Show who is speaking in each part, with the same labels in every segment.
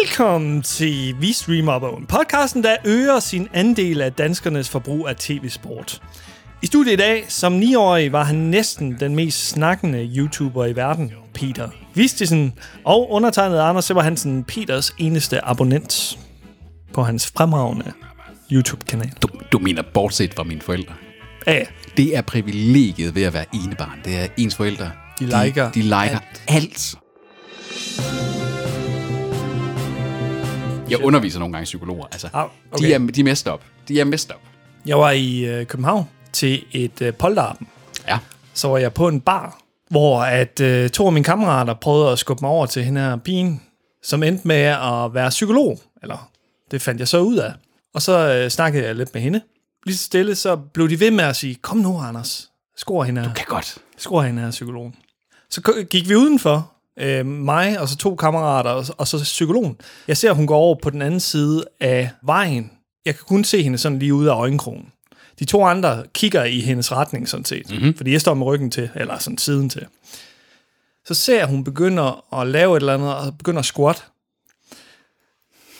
Speaker 1: Velkommen til Vi Streamer Bogen, podcasten, der øger sin andel af danskernes forbrug af tv-sport. I studiet i dag, som 9-årig, var han næsten den mest snakkende YouTuber i verden, Peter Vistisen, og undertegnet Anders Simmer Hansen, Peters eneste abonnent på hans fremragende YouTube-kanal.
Speaker 2: Du, du mener bortset fra mine forældre.
Speaker 1: Ja, ja.
Speaker 2: Det er privilegiet ved at være enebarn. Det er at ens forældre.
Speaker 1: De liker
Speaker 2: De, de liker alt. alt. Jeg underviser nogle gange psykologer. Altså,
Speaker 1: Au, okay.
Speaker 2: okay. de, er, de er messed up. De er messed up.
Speaker 1: Jeg var i øh, København til et øh, polterappen.
Speaker 2: Ja.
Speaker 1: så var jeg på en bar, hvor at øh, to af mine kammerater prøvede at skubbe mig over til hende her pigen, som endte med at være psykolog, eller det fandt jeg så ud af. Og så øh, snakkede jeg lidt med hende. Lige så stille, så blev de ved med at sige, kom nu, Anders, skor hende her,
Speaker 2: Kan godt.
Speaker 1: skor hende her, psykologen. Så k- gik vi udenfor, øh, mig og så to kammerater, og, og så psykologen. Jeg ser, at hun går over på den anden side af vejen. Jeg kan kun se hende sådan lige ude af øjenkrogen. De to andre kigger i hendes retning, sådan set. Mm-hmm. Fordi jeg står med ryggen til, eller sådan siden til. Så ser jeg, hun begynder at lave et eller andet, og begynder at squat.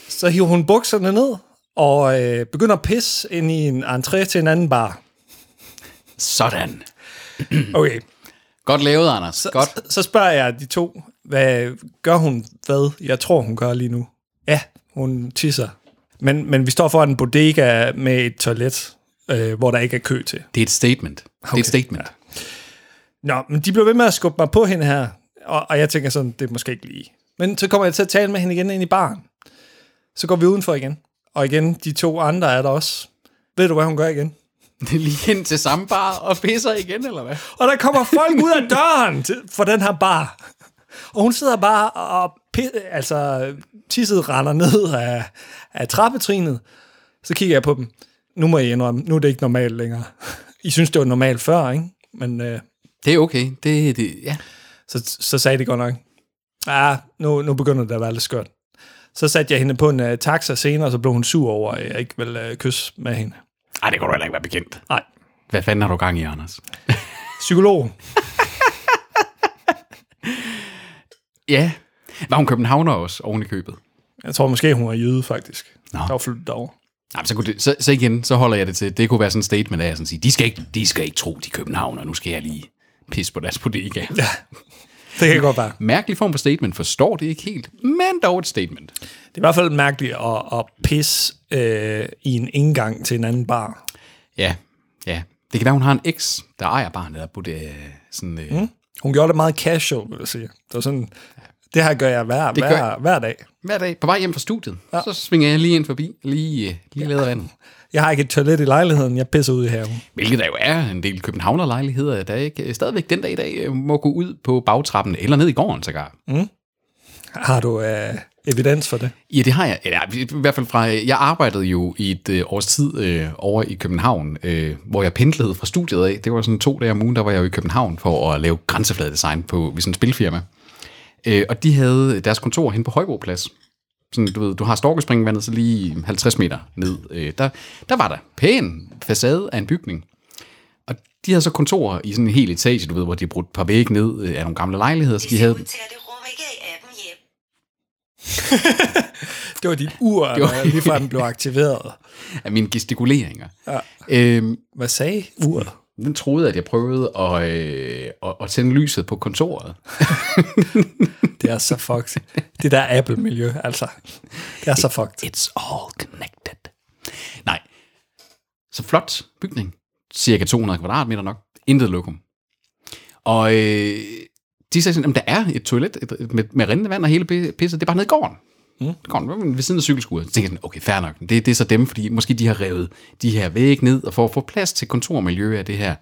Speaker 1: Så hiver hun bukserne ned, og øh, begynder at pisse ind i en entré til en anden bar.
Speaker 2: Sådan.
Speaker 1: Okay,
Speaker 2: Godt lavet, Anders. Så, godt.
Speaker 1: Så, så spørger jeg de to, hvad gør hun hvad? Jeg tror, hun gør lige nu. Ja, hun tisser. Men, men vi står foran en bodega med et toilet, øh, hvor der ikke er kø til.
Speaker 2: Det er et statement. Okay. Det er et statement. Ja.
Speaker 1: Nå, men de blev ved med at skubbe mig på hende her, og, og jeg tænker sådan, det er måske ikke lige. Men så kommer jeg til at tale med hende igen ind i baren. Så går vi udenfor igen. Og igen, de to andre er der også. Ved du, hvad hun gør igen?
Speaker 2: Det er lige ind til samme bar og pisser igen, eller hvad?
Speaker 1: Og der kommer folk ud af døren til, for den her bar. Og hun sidder bare og pi- altså, tisset render ned af, af trappetrinet. Så kigger jeg på dem. Nu må jeg indrømme, nu er det ikke normalt længere. I synes, det var normalt før, ikke? Men øh,
Speaker 2: Det er okay. Det, det, ja.
Speaker 1: så, så sagde det godt nok. Ah, nu, nu begynder det at være lidt skørt. Så satte jeg hende på en uh, taxa senere, og så blev hun sur over, at jeg ikke ville uh, kysse med hende.
Speaker 2: Ej, det kan du heller ikke være bekendt.
Speaker 1: Nej,
Speaker 2: Hvad fanden har du gang i, Anders?
Speaker 1: psykolog.
Speaker 2: Ja. Var hun københavner også, oven i købet?
Speaker 1: Jeg tror måske, hun er jøde, faktisk.
Speaker 2: Nå.
Speaker 1: Der var flyttet derover.
Speaker 2: Nej, men så, kunne det, så, så, igen, så holder jeg det til, det kunne være sådan et statement af at sådan sige, de skal ikke, de skal ikke tro, de er københavner, nu skal jeg lige pisse på deres bodega. Ja.
Speaker 1: Det kan godt være.
Speaker 2: Mærkelig form for statement, forstår det ikke helt, men dog et statement.
Speaker 1: Det er i hvert fald mærkeligt at, at pisse øh, i en indgang til en anden bar.
Speaker 2: Ja, ja. Det kan være, hun har en eks, der ejer barnet, der burde øh, sådan... Øh, mm.
Speaker 1: Hun gjorde det meget casual, vil jeg sige. Det var sådan, det her gør jeg hver,
Speaker 2: gør
Speaker 1: hver, hver dag.
Speaker 2: Hver dag, på vej hjem fra studiet, ja. så svinger jeg lige ind forbi, lige, øh, lige lader vandet.
Speaker 1: Jeg har ikke et toilet i lejligheden, jeg pisser ud i haven.
Speaker 2: Hvilket der jo er en del københavnerlejligheder, der ikke øh, stadigvæk den dag i dag øh, må gå ud på bagtrappen, eller ned i gården sågar. Mm.
Speaker 1: Har du øh, evidens for det?
Speaker 2: Ja, det har jeg. Eller, i hvert fald fra, jeg arbejdede jo i et øh, års tid øh, over i København, øh, hvor jeg pendlede fra studiet af. Det var sådan to dage om ugen, der var jeg jo i København for at lave grænsefladedesign på ved sådan en spilfirma. Øh, og de havde deres kontor hen på Højbroplads. Sådan, du ved, du har Storkespringvandet, så lige 50 meter ned. Øh, der, der var der pæn facade af en bygning. Og de havde så kontorer i sådan en hel etage, du ved, hvor de brugte et par vægge ned øh, af nogle gamle lejligheder. Så de havde,
Speaker 3: ud til, at det rum ikke er i appen hjem.
Speaker 1: Det var dit ur,
Speaker 2: var-
Speaker 1: der lige fra den blev aktiveret.
Speaker 2: af mine gestikuleringer. Ja. Øhm,
Speaker 1: Hvad sagde uret?
Speaker 2: Den troede, at jeg prøvede at, øh, at, at tænde lyset på kontoret.
Speaker 1: Det er så fucked. Det der Apple-miljø, altså. Det er så fucked.
Speaker 2: It's all connected. Nej. Så flot bygning. Cirka 200 kvadratmeter nok. Intet lokum. Og øh, de sagde sådan, at der er et toilet et, et, med, med rindende vand og hele pi- pisset. Det er bare nede i gården. Mm. Gården ved siden af cykelskuret. Så tænkte jeg sådan, okay, fair nok. Det, det er så dem, fordi måske de har revet de her vægge ned, og for at få plads til kontormiljø af det her.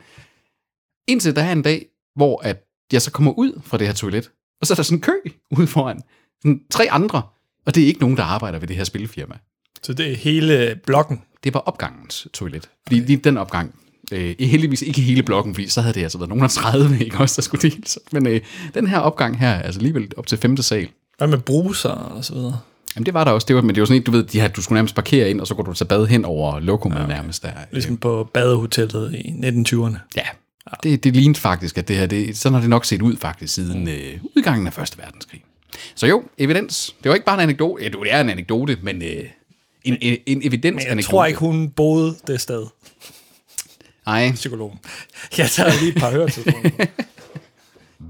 Speaker 2: Indtil der er en dag, hvor at jeg så kommer ud fra det her toilet, og så er der sådan en kø ude foran. Sådan tre andre, og det er ikke nogen, der arbejder ved det her spilfirma.
Speaker 1: Så det er hele blokken.
Speaker 2: Det var opgangens toilet. Fordi lige den opgang, øh, heldigvis ikke hele blokken, fordi så havde det altså været nogen af 30, ikke også, der skulle deles. Men øh, den her opgang her, altså alligevel op til femte sal,
Speaker 1: Hvad med bruser og så videre?
Speaker 2: Jamen det var der også, det var, men det var sådan et, du ved, de her, du skulle nærmest parkere ind, og så går du til bad hen over lokummet ja, okay. nærmest der. Øh,
Speaker 1: Ligesom på badehotellet i 1920'erne.
Speaker 2: Ja, det, det lignede faktisk, at det her, det, sådan har det nok set ud faktisk siden øh, udgangen af Første Verdenskrig. Så jo, evidens. Det var ikke bare en anekdote. Ja, det er en anekdote, men øh, en, en, en evidens
Speaker 1: Men jeg tror ikke, hun boede det sted,
Speaker 2: Nej.
Speaker 1: psykologen. Jeg tager lige et par høretelefoner. på.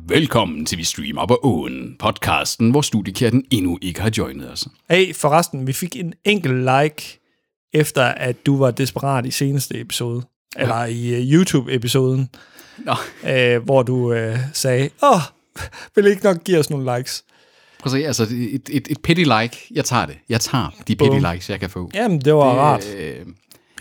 Speaker 2: Velkommen til Vi Streamer på Åen, podcasten, hvor studiekærten endnu ikke har joinet os.
Speaker 1: Hey, forresten, vi fik en enkelt like, efter at du var desperat i seneste episode. Eller i uh, YouTube-episoden,
Speaker 2: Nå,
Speaker 1: øh, hvor du øh, sagde, åh, vil I ikke nok give os nogle likes?
Speaker 2: prøv at se, altså et, et, et pity like, jeg tager det. Jeg tager de pity likes, jeg kan få.
Speaker 1: Jamen, det var det, rart.
Speaker 2: Øh,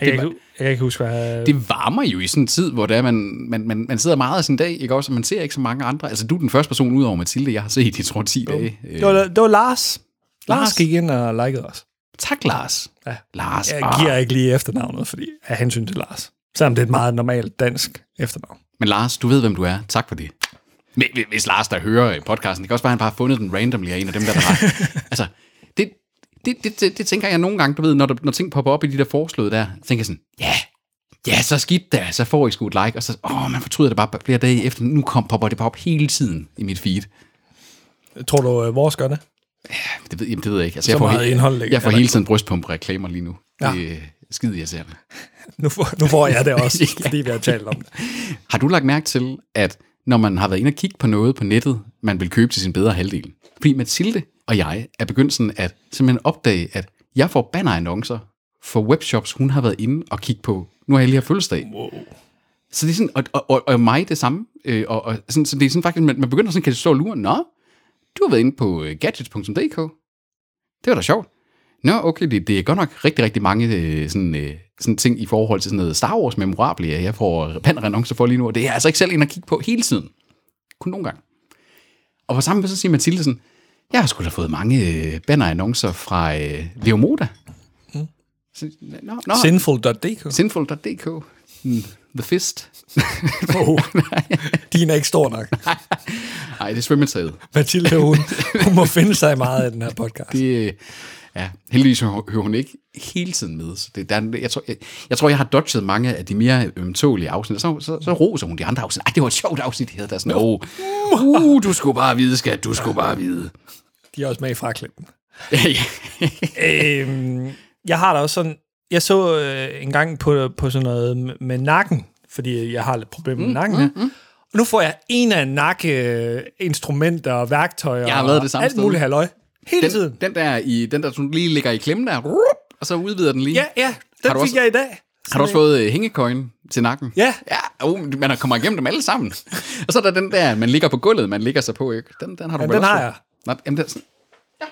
Speaker 1: Jeg, kan, ikke- jeg kan ikke huske, hvad øh, jeg...
Speaker 2: det varmer jo i sådan en tid, hvor det er, man, man, man, man sidder meget af sin dag, ikke også? Og Man ser ikke så mange andre. Altså, du er den første person udover Mathilde, jeg har set i, tror, 10 dage. Øh,
Speaker 1: Det var, det var Lars. Lars.
Speaker 2: Lars.
Speaker 1: Lars gik ind og likede os.
Speaker 2: tak, Lars.
Speaker 1: Ja.
Speaker 2: Lars,
Speaker 1: Jeg
Speaker 2: ah.
Speaker 1: giver ikke lige efternavnet, fordi af hensyn til Lars. Selvom det er et meget normalt dansk efternavn.
Speaker 2: Men Lars, du ved, hvem du er. Tak for det. Men hvis- Hvis Lars, der hører øh, podcasten, det kan også være, at han bare har fundet den randomly af en af dem, der der har. altså, det, det, det, det, det, tænker jeg nogle gange, du ved, når, der, når ting popper op i de der forslag der, så tænker jeg sådan, ja, yeah, ja, så skidt da, så får I sgu et like, og så, åh, man fortryder det bare flere dage efter, nu kom, popper det bare op hele tiden i mit feed.
Speaker 1: Tror du, øh, vores gør det?
Speaker 2: Det ved, jamen, det ved jeg ikke. Altså, jeg
Speaker 1: Så
Speaker 2: får,
Speaker 1: meget
Speaker 2: he-
Speaker 1: indhold ligger
Speaker 2: jeg får
Speaker 1: der
Speaker 2: hele
Speaker 1: ikke.
Speaker 2: tiden brystpumpe-reklamer lige nu. Ja.
Speaker 1: Ja.
Speaker 2: Det er skide irriterende.
Speaker 1: Nu får, nu får jeg det også, fordi vi har talt om det.
Speaker 2: Har du lagt mærke til, at når man har været inde og kigge på noget på nettet, man vil købe til sin bedre halvdel? Fordi Mathilde og jeg er begyndt sådan at simpelthen opdage, at jeg får bannerannoncer for webshops, hun har været inde og kigge på. Nu har jeg lige haft fødselsdag. Wow. Så det er sådan, og, og, og, og mig det samme. Øh, og, og sådan, så det er sådan faktisk, man, man begynder sådan, kan stå og lure, nå, du har været inde på øh, gadgets.dk. Det var da sjovt. Nå, okay, det, det er godt nok rigtig, rigtig mange øh, sådan, øh, sådan ting i forhold til sådan noget Star Wars memorabilia, jeg får panderannoncer for lige nu, og det er jeg altså ikke selv inde at kigge på hele tiden. Kun nogle gange. Og på samme måde, så siger Mathilde sådan, jeg har sgu da fået mange øh, bannerannoncer fra øh, Leo Moda. Så, nå, nå,
Speaker 1: Sinful.dk.
Speaker 2: sinful.dk, Mm, The Fist.
Speaker 1: Oh, din er ikke stor nok.
Speaker 2: Nej, det er svømmetaget.
Speaker 1: Mathilde, hun, hun må finde sig i meget af den her podcast.
Speaker 2: Det, øh, ja, heldigvis hører hører hun ikke hele tiden med. Så det, der, er- jeg, tror, jeg, jeg tror, jeg har dodget mange af de mere ømtålige afsnit. og Så, så, så roser hun de andre afsnit. Ej, det var et sjovt afsnit, det hedder der er sådan. Åh, uh, du skulle bare vide, skat, du skulle bare vide.
Speaker 1: De er også med i fraklippen.
Speaker 2: Ja, ja.
Speaker 1: øhm, jeg har da også sådan... Jeg så øh, en gang på, på sådan noget med- med nakken, fordi jeg har lidt problemer med nakken. Mm, mm. Og nu får jeg en af nakke øh, instrumenter og værktøjer
Speaker 2: Jeg har været det
Speaker 1: og
Speaker 2: samme
Speaker 1: alt
Speaker 2: sted.
Speaker 1: muligt halløj. Hele
Speaker 2: Den,
Speaker 1: tiden.
Speaker 2: den, der, i, den der, som lige ligger i klemme der, rup, og så udvider den lige.
Speaker 1: Ja, ja. Den
Speaker 2: Har du
Speaker 1: fik
Speaker 2: også-
Speaker 1: jeg i dag.
Speaker 2: Har du også fået øh, hængekøjen til nakken?
Speaker 1: Ja.
Speaker 2: ja oh, man har kommet igennem dem alle sammen. Og så er der den der, man ligger på gulvet, man ligger sig på, ikke? Den, den har du
Speaker 1: Ja,
Speaker 2: vel
Speaker 1: den
Speaker 2: også
Speaker 1: har
Speaker 2: fået?
Speaker 1: jeg.
Speaker 2: Nå, jamen, den, sådan, ja.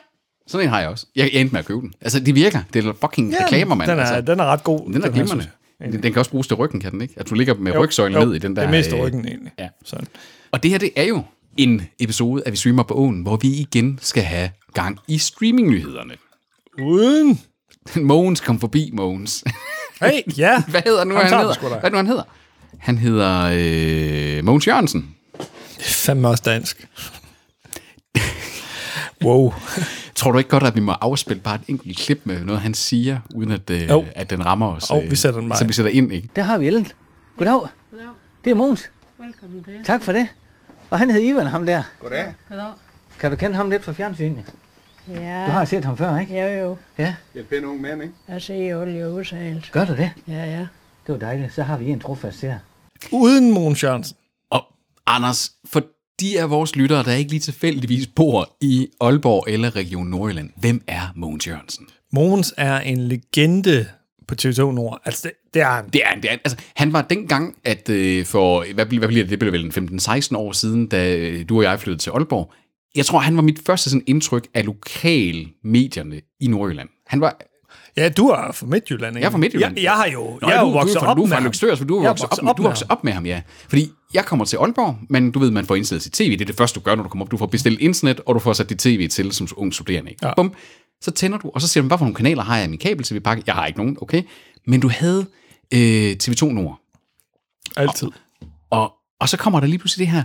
Speaker 2: sådan en har jeg også. Jeg, jeg endte med at købe den. Altså, de virker. Det er fucking ja, reklamer, mand.
Speaker 1: Den er,
Speaker 2: altså,
Speaker 1: den er ret god.
Speaker 2: den er
Speaker 1: her,
Speaker 2: glimrende.
Speaker 1: synes jeg.
Speaker 2: Den, den kan også bruges til ryggen, kan den ikke? At du ligger med rygsøjlen ned i den der...
Speaker 1: Det er mest
Speaker 2: øh,
Speaker 1: ryggen, egentlig.
Speaker 2: ja.
Speaker 1: Sådan.
Speaker 2: Og det her, det er jo en episode af Vi Streamer på Åen, hvor vi igen skal have gang i streamingnyhederne.
Speaker 1: Uden.
Speaker 2: Mogens kom forbi, Mogens.
Speaker 1: Hey, ja.
Speaker 2: Hvad hedder nu,
Speaker 1: Ham
Speaker 2: han,
Speaker 1: tager
Speaker 2: hedder?
Speaker 1: du sgu da.
Speaker 2: Hvad er det nu, han hedder? Han hedder øh, Mogens Jørgensen.
Speaker 1: Fandme også dansk. wow.
Speaker 2: Tror du ikke godt, at vi må afspille bare et enkelt klip med noget, han siger, uden at, øh,
Speaker 1: Jo.
Speaker 2: at den rammer os?
Speaker 1: Jo,
Speaker 2: øh,
Speaker 1: vi sætter den bare
Speaker 2: Så
Speaker 1: ind.
Speaker 2: vi sætter ind, ikke?
Speaker 4: Der har vi Ellen. Goddag. Goddag. Det er Mogens.
Speaker 5: Velkommen til.
Speaker 4: Tak for det. Og han hed Ivan, ham der.
Speaker 5: Goddag.
Speaker 4: Kan du kende ham lidt fra fjernsynet?
Speaker 5: Ja.
Speaker 4: Du har set ham før, ikke?
Speaker 5: Jo, jo.
Speaker 4: Ja,
Speaker 6: Det er pæn ung mand, ikke?
Speaker 5: Jeg ser jo alle udsendelser.
Speaker 4: gør du det?
Speaker 5: Ja, ja.
Speaker 4: Det var dejligt. Så har vi en trofast der.
Speaker 1: Uden Mogens Jørgensen.
Speaker 2: Og Anders, for de af vores lyttere, der ikke lige tilfældigvis bor i Aalborg eller Region Nordjylland, hvem er Mogens Jørgensen?
Speaker 1: Mogens er en legende på TV2 Nord. Altså, det, det er han.
Speaker 2: Det er han. Det er, han. altså, han var dengang, at øh, for, hvad, bliver- hvad bliver det, det blev vel en 15-16 år siden, da øh, du og jeg flyttede til Aalborg. Jeg tror, han var mit første sådan, indtryk af lokal medierne i Nordjylland. Han var,
Speaker 1: Ja, du er fra Midtjylland, ikke?
Speaker 2: Jeg er fra Midtjylland.
Speaker 1: Jeg, jeg har jo
Speaker 2: Nå,
Speaker 1: jeg
Speaker 2: ja,
Speaker 1: er
Speaker 2: du-
Speaker 1: jo
Speaker 2: du er
Speaker 1: vokset
Speaker 2: fra-
Speaker 1: op
Speaker 2: du er
Speaker 1: med
Speaker 2: fra
Speaker 1: ham.
Speaker 2: Løgstør, så du er
Speaker 1: Jeg er
Speaker 2: vokset op, med, du er vokset
Speaker 1: ham.
Speaker 2: op med ham, ja. Fordi jeg kommer til Aalborg, men du ved, man får indstillet sit tv. Det er det første, du gør, når du kommer op. Du får bestilt internet, og du får sat dit tv til som ung studerende. Ja. Bum. Så tænder du, og så siger du, hvad for nogle kanaler har jeg i min kabel-tv-pakke? Jeg har ikke nogen, okay. Men du havde øh, TV2 Nord.
Speaker 1: Altid.
Speaker 2: Og, og så kommer der lige pludselig det her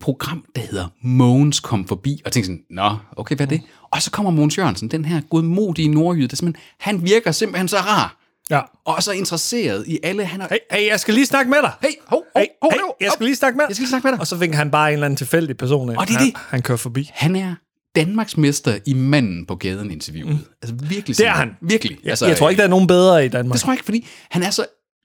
Speaker 2: program, der hedder Mogens kom forbi, og tænker sådan, nå, okay, hvad er det? Og så kommer Mogens Jørgensen, den her godmodige nordjyde, der simpelthen, han virker simpelthen så rar,
Speaker 1: Ja.
Speaker 2: og så interesseret i alle, han har,
Speaker 1: Hey, hey, jeg skal lige snakke med dig.
Speaker 2: Hey, hov, hov,
Speaker 1: hey,
Speaker 2: hov,
Speaker 1: hey,
Speaker 2: hov,
Speaker 1: jeg skal
Speaker 2: hov.
Speaker 1: lige snakke med dig.
Speaker 2: Jeg skal lige snakke med dig.
Speaker 1: Og så vinker han bare en eller anden tilfældig person ind.
Speaker 2: Og det er
Speaker 1: han,
Speaker 2: det.
Speaker 1: Han kører forbi.
Speaker 2: Han er Danmarksmester i manden på gaden interviewet. Mm. Altså virkelig. sådan-
Speaker 1: er han.
Speaker 2: Virkelig.
Speaker 1: Jeg, altså, jeg tror ikke,
Speaker 2: øh,
Speaker 1: der er nogen bedre i Danmark.
Speaker 2: Det tror jeg ikke, fordi han er så...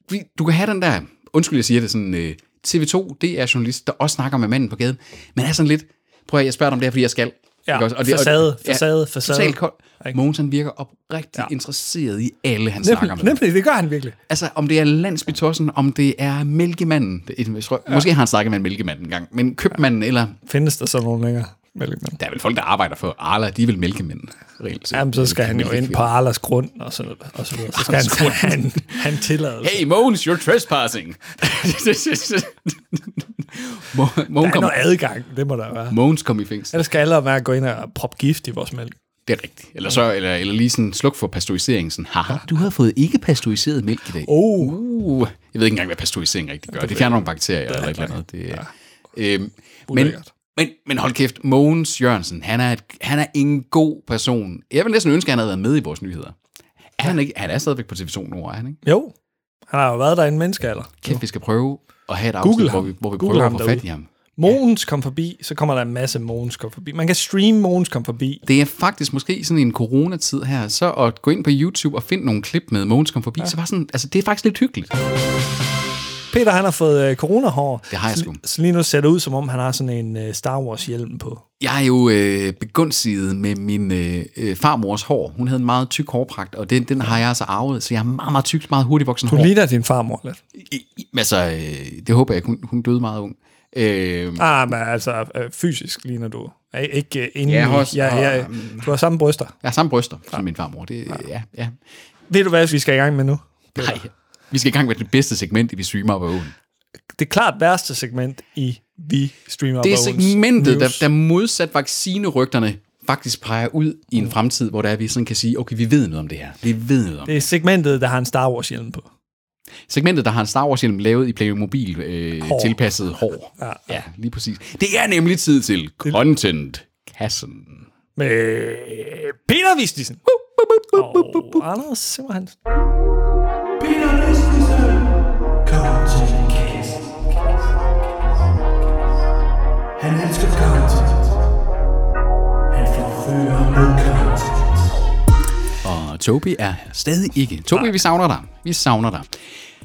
Speaker 2: Fordi du kan have den der... Undskyld, jeg siger det sådan... Øh, TV2, det er journalist, der også snakker med manden på gaden. Men er sådan lidt... Prøv at jeg spørger dig om det her, fordi jeg skal.
Speaker 1: Ja,
Speaker 2: Ikke også?
Speaker 1: facade, facade, facade.
Speaker 2: Totalt kold.
Speaker 1: Ikke?
Speaker 2: Mogens, han virker oprigtigt
Speaker 1: Ja.
Speaker 2: ja. interesseret i alle, han snakker med.
Speaker 1: nemlig, nemlig, det gør han virkelig.
Speaker 2: Altså, om det er landsbytossen, om det er mælkemanden. Det, er- jeg tror, ja. Måske har han snakket med en mælkemand engang, men købmanden eller...
Speaker 1: Findes der så nogen længere? Mælkemand?
Speaker 2: Der er vel folk, der arbejder for Arla, de er vel mælkemænd, reelt set.
Speaker 1: Jamen, så skal han jo ind
Speaker 2: Mælkefirma.
Speaker 1: på Arlas grund og sådan noget. Og så, videre. så skal han have en, have en tilladelse.
Speaker 2: Hey Mogens, you're trespassing. Mo-
Speaker 1: der
Speaker 2: Mogens,
Speaker 1: er
Speaker 2: kom,
Speaker 1: noget adgang, det må der være.
Speaker 2: Mogens kom i fængsel.
Speaker 1: Ellers skal alle være at gå ind og proppe gift i vores mælk.
Speaker 2: Det er rigtigt. Eller, så, eller, eller lige sådan sluk for pasteuriseringen. Sådan, haha, du har fået ikke pasteuriseret mælk i dag.
Speaker 1: Oh.
Speaker 2: Uh, jeg ved ikke engang, hvad pasteurisering rigtig gør. Det fjerner nogle bakterier eller et eller andet. Det, er- øhm, men,
Speaker 1: Ulækkert.
Speaker 2: men, men hold kæft, Mogens Jørgensen, han er, et, han er en god person. Jeg vil næsten ønske, at han havde været med i vores nyheder. Er han, ikke, han er stadigvæk på TV2 nu, er han ikke?
Speaker 1: Jo, han har jo været der i en menneskealder.
Speaker 2: Kæft, vi skal prøve at have et
Speaker 1: Google
Speaker 2: afsnit, hvor
Speaker 1: ham.
Speaker 2: vi, hvor vi
Speaker 1: Google
Speaker 2: prøver at
Speaker 1: ham
Speaker 2: få fat
Speaker 1: derude.
Speaker 2: i ham.
Speaker 1: Mogens kom forbi, så kommer der en masse Mogens kom forbi. Man kan streame Mogens kom forbi.
Speaker 2: Det er faktisk måske sådan en coronatid her, så at gå ind på YouTube og finde nogle klip med Mogens kom forbi, ja. så var sådan, altså det er faktisk lidt hyggeligt.
Speaker 1: Peter, han har fået øh, coronahår.
Speaker 2: Det har jeg
Speaker 1: Så-
Speaker 2: sgu.
Speaker 1: Så lige nu ser det ud, som om han har sådan en øh, Star Wars-hjelm på.
Speaker 2: Jeg er jo øh, begunstiget med min øh, øh, farmors hår. Hun havde en meget tyk hårpragt, og den, den har jeg altså arvet, så jeg har meget, meget tykt, meget hurtigt voksen
Speaker 1: Du
Speaker 2: hår.
Speaker 1: ligner din farmor lidt.
Speaker 2: I, i, altså, øh, det håber jeg, ikke. hun, hun døde meget ung. Øh,
Speaker 1: Ah, men altså øh, fysisk ligner du. Er I- Ikke øh, inden
Speaker 2: Ja,
Speaker 1: ja,
Speaker 2: hos-
Speaker 1: ja, ja,
Speaker 2: og-
Speaker 1: Du har samme bryster.
Speaker 2: jeg har samme bryster som min farmor. Det, ja, ja.
Speaker 1: Ved du hvad, vi skal i gang med nu?
Speaker 2: Nej, vi skal i gang med det bedste segment i Vi streamer på åen.
Speaker 1: Det klart værste segment i Vi Streamer
Speaker 2: Det er
Speaker 1: Bones
Speaker 2: segmentet, der,
Speaker 1: News.
Speaker 2: der modsat vaccinerygterne faktisk peger ud i en fremtid, hvor der er, vi sådan kan sige, okay, vi ved noget om det her. Vi ved noget om
Speaker 1: Det er segmentet, der har en Star Wars-hjelm på.
Speaker 2: Segmentet, der har en Star Wars hjelm lavet i Playmobil øh, tilpasset hår. Ja, ja. lige præcis. Det er nemlig tid til content kassen.
Speaker 1: Med øh, Peter Vistisen. Og Anders Simmerhansen.
Speaker 6: Han elsker content. Han forfører med content.
Speaker 2: Og Toby er her stadig ikke. Toby, vi savner dig. Vi savner dig.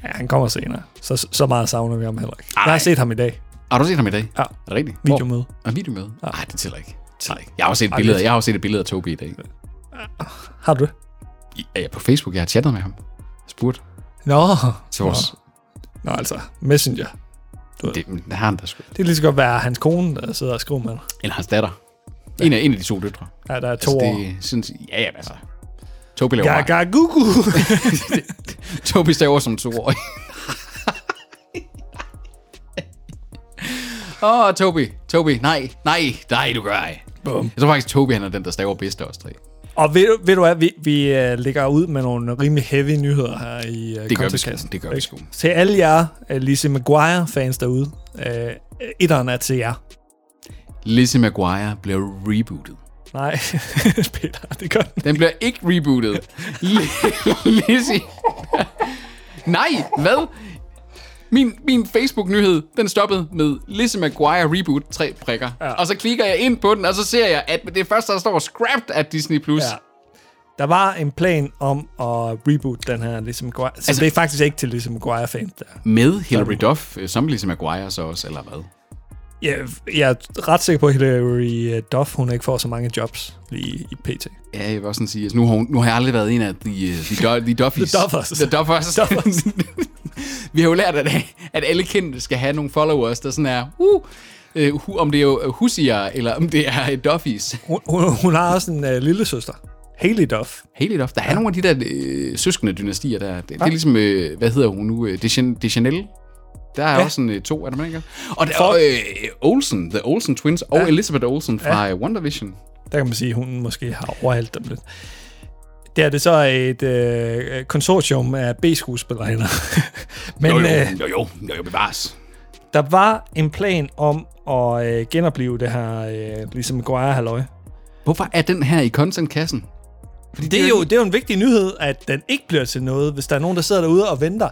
Speaker 1: Ja, han kommer senere. Så, så meget savner vi ham heller ikke. Jeg har set ham i dag.
Speaker 2: Har du set ham i dag?
Speaker 1: Ja.
Speaker 2: Er det rigtigt?
Speaker 1: Videomøde.
Speaker 2: Og videomøde? Nej, ja. det tæller ikke. Det tæller ikke. Jeg har også set et billede, jeg har også set et billede af Toby i dag.
Speaker 1: Har du det?
Speaker 2: Er jeg på Facebook? Jeg har chattet med ham. Spurgt
Speaker 1: Nå.
Speaker 2: til vores...
Speaker 1: Nå, altså. Messenger.
Speaker 2: Det, det har han da sgu.
Speaker 1: Det kan lige så godt være hans kone, der sidder og skriver med dig.
Speaker 2: Eller hans datter. En af, en af de to døtre.
Speaker 1: Ja, der er to altså,
Speaker 2: Altså,
Speaker 1: år.
Speaker 2: det synes ja, ja, altså. Toby laver meget.
Speaker 1: Gaga gugu.
Speaker 2: Tobi staver som to år. Åh, oh, Tobi. Tobi, nej, nej, nej, du gør ej.
Speaker 1: Bum.
Speaker 2: Jeg tror faktisk, Tobi han er den, der staver bedst af os tre.
Speaker 1: Og ved, du- ved du hvad, vi, vi øh, lægger ud med nogle rimelig heavy nyheder her i uh,
Speaker 2: Det gør vi sgu. Det gør vi sgu.
Speaker 1: Til alle jer uh, Lizzie McGuire-fans derude, uh, etteren er til jer.
Speaker 2: Lizzie McGuire bliver rebootet.
Speaker 1: Nej, Peter, det gør den.
Speaker 2: Den bliver ikke rebootet. Li- Lizzie. nej, hvad? Min, min Facebook-nyhed, den stoppede med Lizzie McGuire reboot, tre prikker. Ja. Og så klikker jeg ind på den, og så ser jeg, at det første, der står scrapped af Disney+. Plus.
Speaker 1: Ja. Der var en plan om at reboot den her Lizzie McGuire. Så altså, det er faktisk ikke til Lizzie McGuire-fans der.
Speaker 2: Med Hilary Duff, øh, som Lizzie McGuire så også, eller hvad?
Speaker 1: Jeg, jeg er ret sikker på, at Hilary øh, Duff, hun ikke får så mange jobs lige i PT.
Speaker 2: Ja, jeg vil også sådan sige, altså, nu, har hun, nu har jeg aldrig været en af de, øh, de, do, de Duffies.
Speaker 1: The Duffers.
Speaker 2: The Duffers.
Speaker 1: Duffers.
Speaker 2: Vi har jo lært, at, at alle kendte skal have nogle followers, der sådan er, uh, øh, hu- om det er jo husier, eller om det er øh, Duffies.
Speaker 1: Hun, hun, hun har også en uh, lille søster, Haley Duff.
Speaker 2: Helt Duff. Der er nogle af de der øh, søskende dynastier, der det, det er ligesom, øh, hvad hedder hun nu, øh, Dejan- Dejanelle. Der er ja. også en, øh, to, er der man ikke? Og der er øh, Olsen, The Olsen Twins, og Elizabeth Olsen fra ja. WandaVision.
Speaker 1: Der kan man sige, at hun måske har overhældt dem lidt. Det er det så et øh, konsortium af B-skuespillerinder. Men
Speaker 2: Jo, jo,
Speaker 1: øh,
Speaker 2: jo, jo, jo, jo bevares.
Speaker 1: der var en plan om at øh, genopleve det her, øh, ligesom McGuire halløj.
Speaker 2: Hvorfor er den her i contentkassen?
Speaker 1: Det er, jo, det er jo en vigtig nyhed, at den ikke bliver til noget, hvis der er nogen, der sidder derude og venter.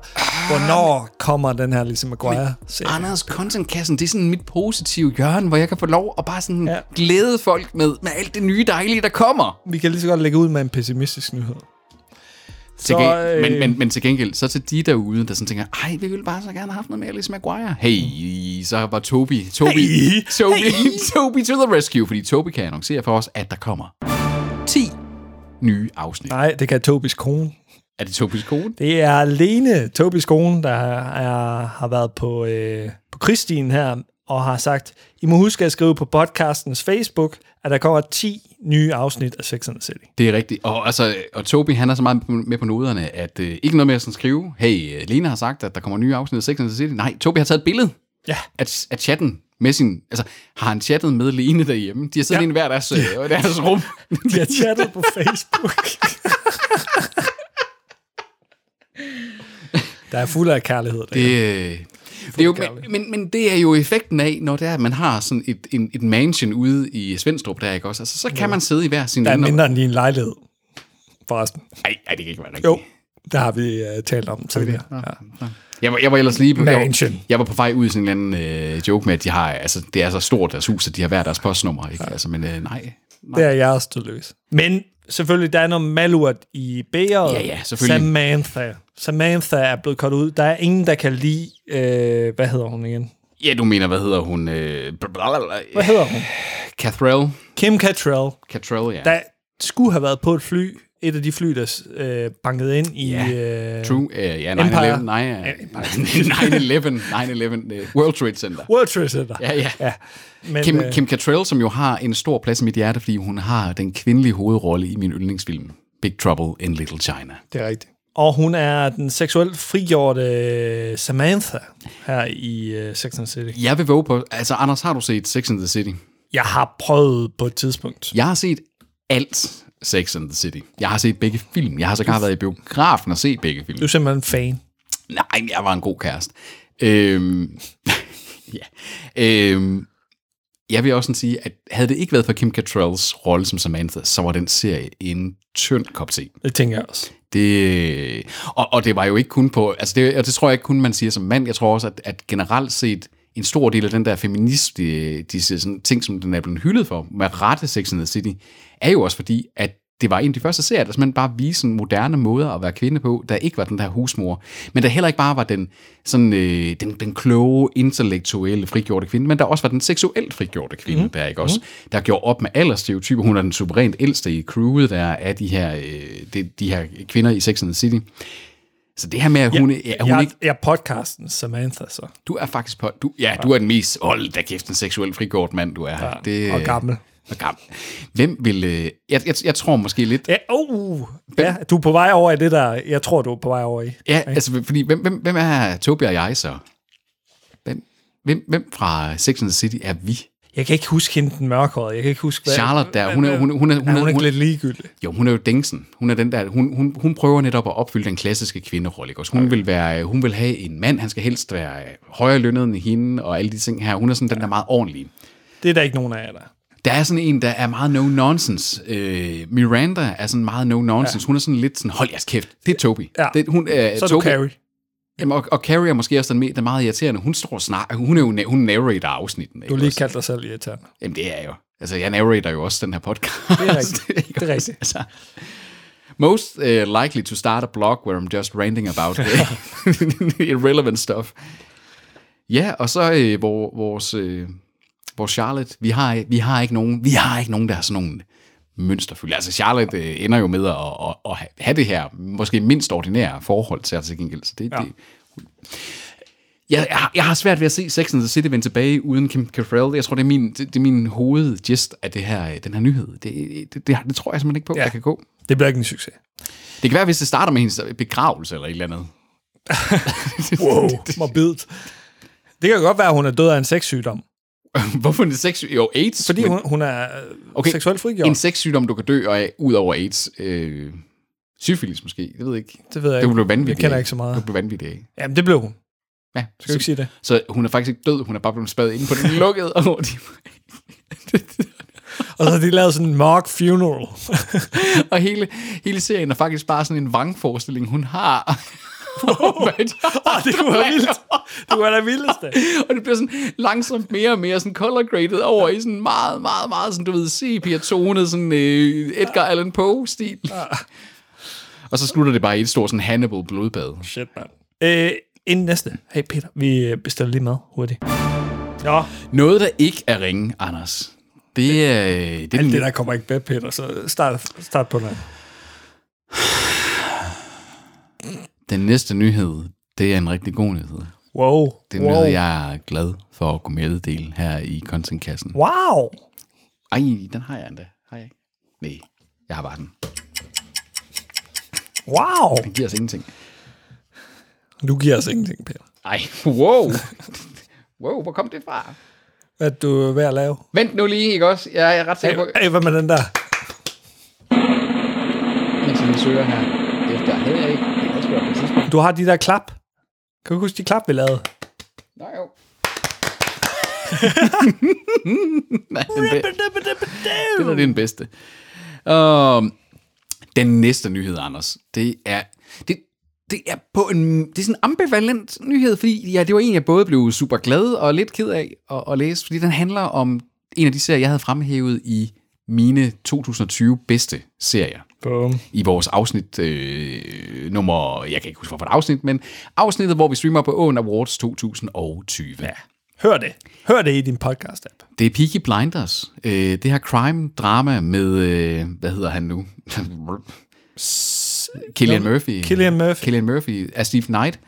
Speaker 1: Hvornår kommer den her ligesom Lizzie McGuire?
Speaker 2: Anders Contentkassen, det er sådan mit positive hjørne, hvor jeg kan få lov at bare sådan
Speaker 1: Ja.
Speaker 2: ja. glæde folk med, med alt det nye dejlige, der kommer.
Speaker 1: Vi kan lige så godt lægge ud med en pessimistisk nyhed.
Speaker 2: Til
Speaker 1: Så,
Speaker 2: gen-
Speaker 1: øh,
Speaker 2: men, men, men til gengæld, så til de derude, der sådan tænker, ej, vi ville bare så gerne have haft noget mere Alice Maguire. Hey, så var Toby, Toby,
Speaker 1: Hey.
Speaker 2: Toby, Toby to the rescue, fordi Toby kan annoncere for os, at der kommer 10 nye afsnit.
Speaker 1: Nej, det kan Tobis kone.
Speaker 2: Er det Tobys kone?
Speaker 1: Det er alene Tobis kone, der er, har været på, øh, på Kristin her, og har sagt, I må huske at skrive på podcastens Facebook, at der kommer 10 nye afsnit af Sex and the City.
Speaker 2: Det er rigtigt. Og, altså, og Toby, han er så meget med på noderne, at øh, ikke noget med at sådan skrive, hey, øh, Lena har sagt, at der kommer nye afsnit af Sex and the City. Nej, Toby har taget et billede
Speaker 1: Ja.
Speaker 2: af, af chatten med sin... Altså, har han chattet med Lene derhjemme? De har siddet
Speaker 1: Ja.
Speaker 2: ja. i hver deres, øh, deres rum.
Speaker 1: De har chattet på Facebook. der er fuld af kærlighed. Det,
Speaker 2: Det, øh, det er jo, men, men, men det er jo effekten af, når det er, at man har sådan et, en, et mansion ude i Svendstrup, der ikke også? Altså, så kan man sidde i hver sin...
Speaker 1: der er
Speaker 2: lille-
Speaker 1: mindre end din lejlighed, forresten.
Speaker 2: Ej, ej, det kan ikke være rigtigt.
Speaker 1: Jo, der har vi uh, talt om tidligere. Ja.
Speaker 2: Jeg var, jeg var ellers lige... jeg var-
Speaker 1: Mansion.
Speaker 2: Jeg var på vej ud i sådan en eller anden øh, joke med, at de har, altså, det er så stort deres hus, at de har hver deres postnummer. Ikke? Ja. Altså, men øh, nej.
Speaker 1: Det er jeg også løs. Men selvfølgelig, der er noget malurt i bæret.
Speaker 2: Ja, ja, selvfølgelig.
Speaker 1: Samantha. Samantha er blevet kort ud. Der er ingen, der kan lide... Øh, hvad hedder hun igen?
Speaker 2: Ja, du mener, hvad hedder hun? Øh, blablabla,
Speaker 1: Hvad hedder hun?
Speaker 2: Cathrell.
Speaker 1: Kim Cattrall,
Speaker 2: Cathrell, ja.
Speaker 1: der skulle have været på et fly. Et af de fly, der øh, bankede ind i... Øh,
Speaker 2: True. Øh, ja, 9-11.
Speaker 1: Empire.
Speaker 2: Nej, øh, nej, 9-11. 9-11. øh, World Trade Center.
Speaker 1: World Trade Center.
Speaker 2: Ja, ja.
Speaker 1: ja. Men,
Speaker 2: Kim,
Speaker 1: øh,
Speaker 2: Kim Cattrall, som jo har en stor plads i mit hjerte, fordi hun har den kvindelige hovedrolle i min yndlingsfilm, Big Trouble in Little China.
Speaker 1: Det er rigtigt. Og hun er den seksuelt frigjorte øh, Samantha her i øh, Sex and the City.
Speaker 2: Jeg vil våge på, altså Anders, har du set Sex and the City?
Speaker 1: Jeg har prøvet på et tidspunkt.
Speaker 2: Jeg har set alt Sex and the City. Jeg har set begge film. Jeg har sågar været i biografen og set begge film.
Speaker 1: Du er simpelthen fan.
Speaker 2: Nej, men jeg var en god kæreste. Øhm, ja. øhm, jeg vil også sådan sige, at havde det ikke været for Kim Cattralls rolle som Samantha, så var den serie en tynd kop te.
Speaker 1: Det tænker jeg også.
Speaker 2: Det, og, og det var jo ikke kun på, altså det, og det tror jeg ikke kun, man siger som mand. Jeg tror også, at, at generelt set, en stor del af den der feminist, de, de sådan, ting, som den er blevet hyldet for, med rette Sex and the City, er jo også fordi, at det var en af de første serier, der simpelthen bare viste en moderne måde at være kvinde på, der ikke var den der husmor, men der heller ikke bare var den, sådan, øh, den, den kloge, intellektuelle, frigjorte kvinde, men der også var den seksuelt frigjorte kvinde, mm. der ikke også, der gjorde op med aldersstereotyper. Hun er den suverænt ældste i crewet, der af de her, øh, de, de her kvinder i Sex and the City. Så det her med, at hun, ja, er hun
Speaker 1: jeg,
Speaker 2: ikke
Speaker 1: jeg er podcasten Samantha så.
Speaker 2: du er faktisk på... Du, ja, du er den mest... Hold da kæft, en seksuel frigort mand, du er. Ja, det,
Speaker 1: og gammel.
Speaker 2: Og gammel. Hvem vil... øh, Jeg, jeg, jeg tror måske lidt... Ja,
Speaker 1: Ja, oh, ja, du er på vej over i det der, jeg tror, du er på vej over i.
Speaker 2: ja altså, fordi hvem, hvem, hvem er Tobi og jeg så? Hvem, hvem, hvem fra Sex and the City er vi?
Speaker 1: Jeg kan ikke huske hende den mørkhårede. Jeg kan ikke huske, hvad...
Speaker 2: Charlotte der, hun er, hun, hun, er, hun,
Speaker 1: er
Speaker 2: er,
Speaker 1: hun
Speaker 2: hun,
Speaker 1: ikke
Speaker 2: hun,
Speaker 1: lidt ligegyldig?
Speaker 2: jo, hun er jo dingsen. Hun, er den der, hun, hun, hun prøver netop at opfylde den klassiske kvinderolle. Ikke? også? Hun, vil være, hun vil have en mand, han skal helst være højere lønnet end hende, og alle de ting her. Hun er sådan den der meget ordentlige.
Speaker 1: Det er der ikke nogen af jer, der. er.
Speaker 2: Der er sådan en, der er meget no-nonsense. Øh, Miranda er sådan meget no-nonsense. Ja. Hun er sådan lidt sådan, hold jeres kæft, det er Toby.
Speaker 1: Ja.
Speaker 2: Det, hun, øh,
Speaker 1: Så er
Speaker 2: Toby.
Speaker 1: du Carrie.
Speaker 2: Jamen, og, og Carrie er måske også den, me- den meget irriterende. Hun står og snak, hun er jo na- hun narrator afsnitten.
Speaker 1: Du har lige kaldt dig selv irriterende.
Speaker 2: Jamen, det er jeg jo. Altså, jeg narrator jo også den her podcast.
Speaker 1: Det er rigtigt.
Speaker 2: Ikke
Speaker 1: Det er
Speaker 2: også? Altså, most uh, likely to start a blog where I'm just ranting about irrelevant stuff. Ja, og så øh, hvor, vores, øh, vores Charlotte, vi har, vi har ikke nogen, vi har ikke nogen, der har sådan nogle mønsterfylde. Altså Charlotte øh, ender jo med at, at, at ha- have det her måske mindst ordinære forhold til, altså, til gengæld. Så det, ja. det, jeg, jeg, har- jeg har svært ved at se Sex and the City vende tilbage uden Kim Cattrall. Jeg tror, det er min, det, det er min hovedgest af det her, øh, den her nyhed. Det, det, det, det tror jeg simpelthen ikke på,
Speaker 1: Ja.
Speaker 2: ja. der kan gå.
Speaker 1: Det bliver ikke en succes.
Speaker 2: Det kan være, hvis det starter med hendes begravelse eller et eller andet.
Speaker 1: Wow, morbidt. Det kan jo godt være, at hun er død af en sexsygdom.
Speaker 2: Hvorfor en sex... Jo, AIDS.
Speaker 1: Fordi
Speaker 2: men
Speaker 1: hun, hun er okay.
Speaker 2: Okay,
Speaker 1: seksuelt frigjort.
Speaker 2: En sexsygdom, du kan dø af, ud over AIDS. Øh, syfilis måske, jeg ved ikke.
Speaker 1: det ved jeg
Speaker 2: Det
Speaker 1: ikke.
Speaker 2: blev vanvittigt.
Speaker 1: Jeg kender ikke så meget.
Speaker 2: Det blev vanvittigt af.
Speaker 1: Jamen, det blev hun.
Speaker 2: Ja,
Speaker 1: Skal du ikke sige det?
Speaker 2: Så hun er faktisk ikke død, hun er bare blevet spadet inde på den lukkede. og de-
Speaker 1: Og så har de lavet sådan en mock funeral.
Speaker 2: og hele, hele serien er faktisk bare sådan en vangforestilling, hun har
Speaker 1: Åh, oh, det kunne være vildt. Det kunne være det vildeste.
Speaker 2: og det bliver sådan langsomt mere og mere sådan color graded over i sådan meget, meget, meget sådan, du ved, sepia-tone, sådan øh, Edgar Allan Poe-stil.
Speaker 1: Ah.
Speaker 2: og så slutter det bare i et stort sådan Hannibal blodbad.
Speaker 1: Shit, mand. Øh, inden næste. Hey, Peter, vi øh, bestiller lige mad hurtigt. Nå,
Speaker 2: Noget, der ikke er ringe, Anders. Det er... øh, Det, er
Speaker 1: alt
Speaker 2: den-
Speaker 1: det der kommer ikke med, Peter, så start, start på noget.
Speaker 2: Den næste nyhed, det er en rigtig god nyhed.
Speaker 1: Wow.
Speaker 2: Det er
Speaker 1: wow.
Speaker 2: noget, jeg er glad for at kunne meddele her i contentkassen.
Speaker 1: Wow.
Speaker 2: Ej, den har jeg endda. Har jeg ikke? Nej, jeg har bare den.
Speaker 1: Wow.
Speaker 2: Den giver os ingenting.
Speaker 1: Du giver os ingenting, Peter.
Speaker 2: Ej, wow. wow, hvor kom det fra?
Speaker 1: Hvad du er ved at lave?
Speaker 2: Vent nu lige, ikke også? Jeg er ret sikker på,
Speaker 1: Hey, hey, hvad med den der?
Speaker 2: mens jeg lige søger her. Efter havde jeg ikke. Det kan også være på et tidspunkt.
Speaker 1: Du har de der klap. Kan du huske de klap, vi lavede?
Speaker 2: Nå jo. Nej, den be- det der, det er den bedste. Um, den næste nyhed, Anders, det er, det, det er på en, det er sådan en ambivalent nyhed, fordi ja, det var en, jeg både blev super glad og lidt ked af at, at læse, fordi den handler om en af de serier, jeg havde fremhævet i mine 2020 bedste serier
Speaker 1: Boom.
Speaker 2: i vores afsnit øh, nummer, jeg kan ikke huske, hvorfor det afsnit, men afsnittet, hvor vi streamer på Åen Awards 2020. Ja.
Speaker 1: Hør det. Hør det i din podcast-app.
Speaker 2: Det er Peaky Blinders. Øh, det her crime-drama med, øh, hvad hedder han nu? Killian Murphy.
Speaker 1: Cillian Murphy.
Speaker 2: Killian Murphy af Steve Knight,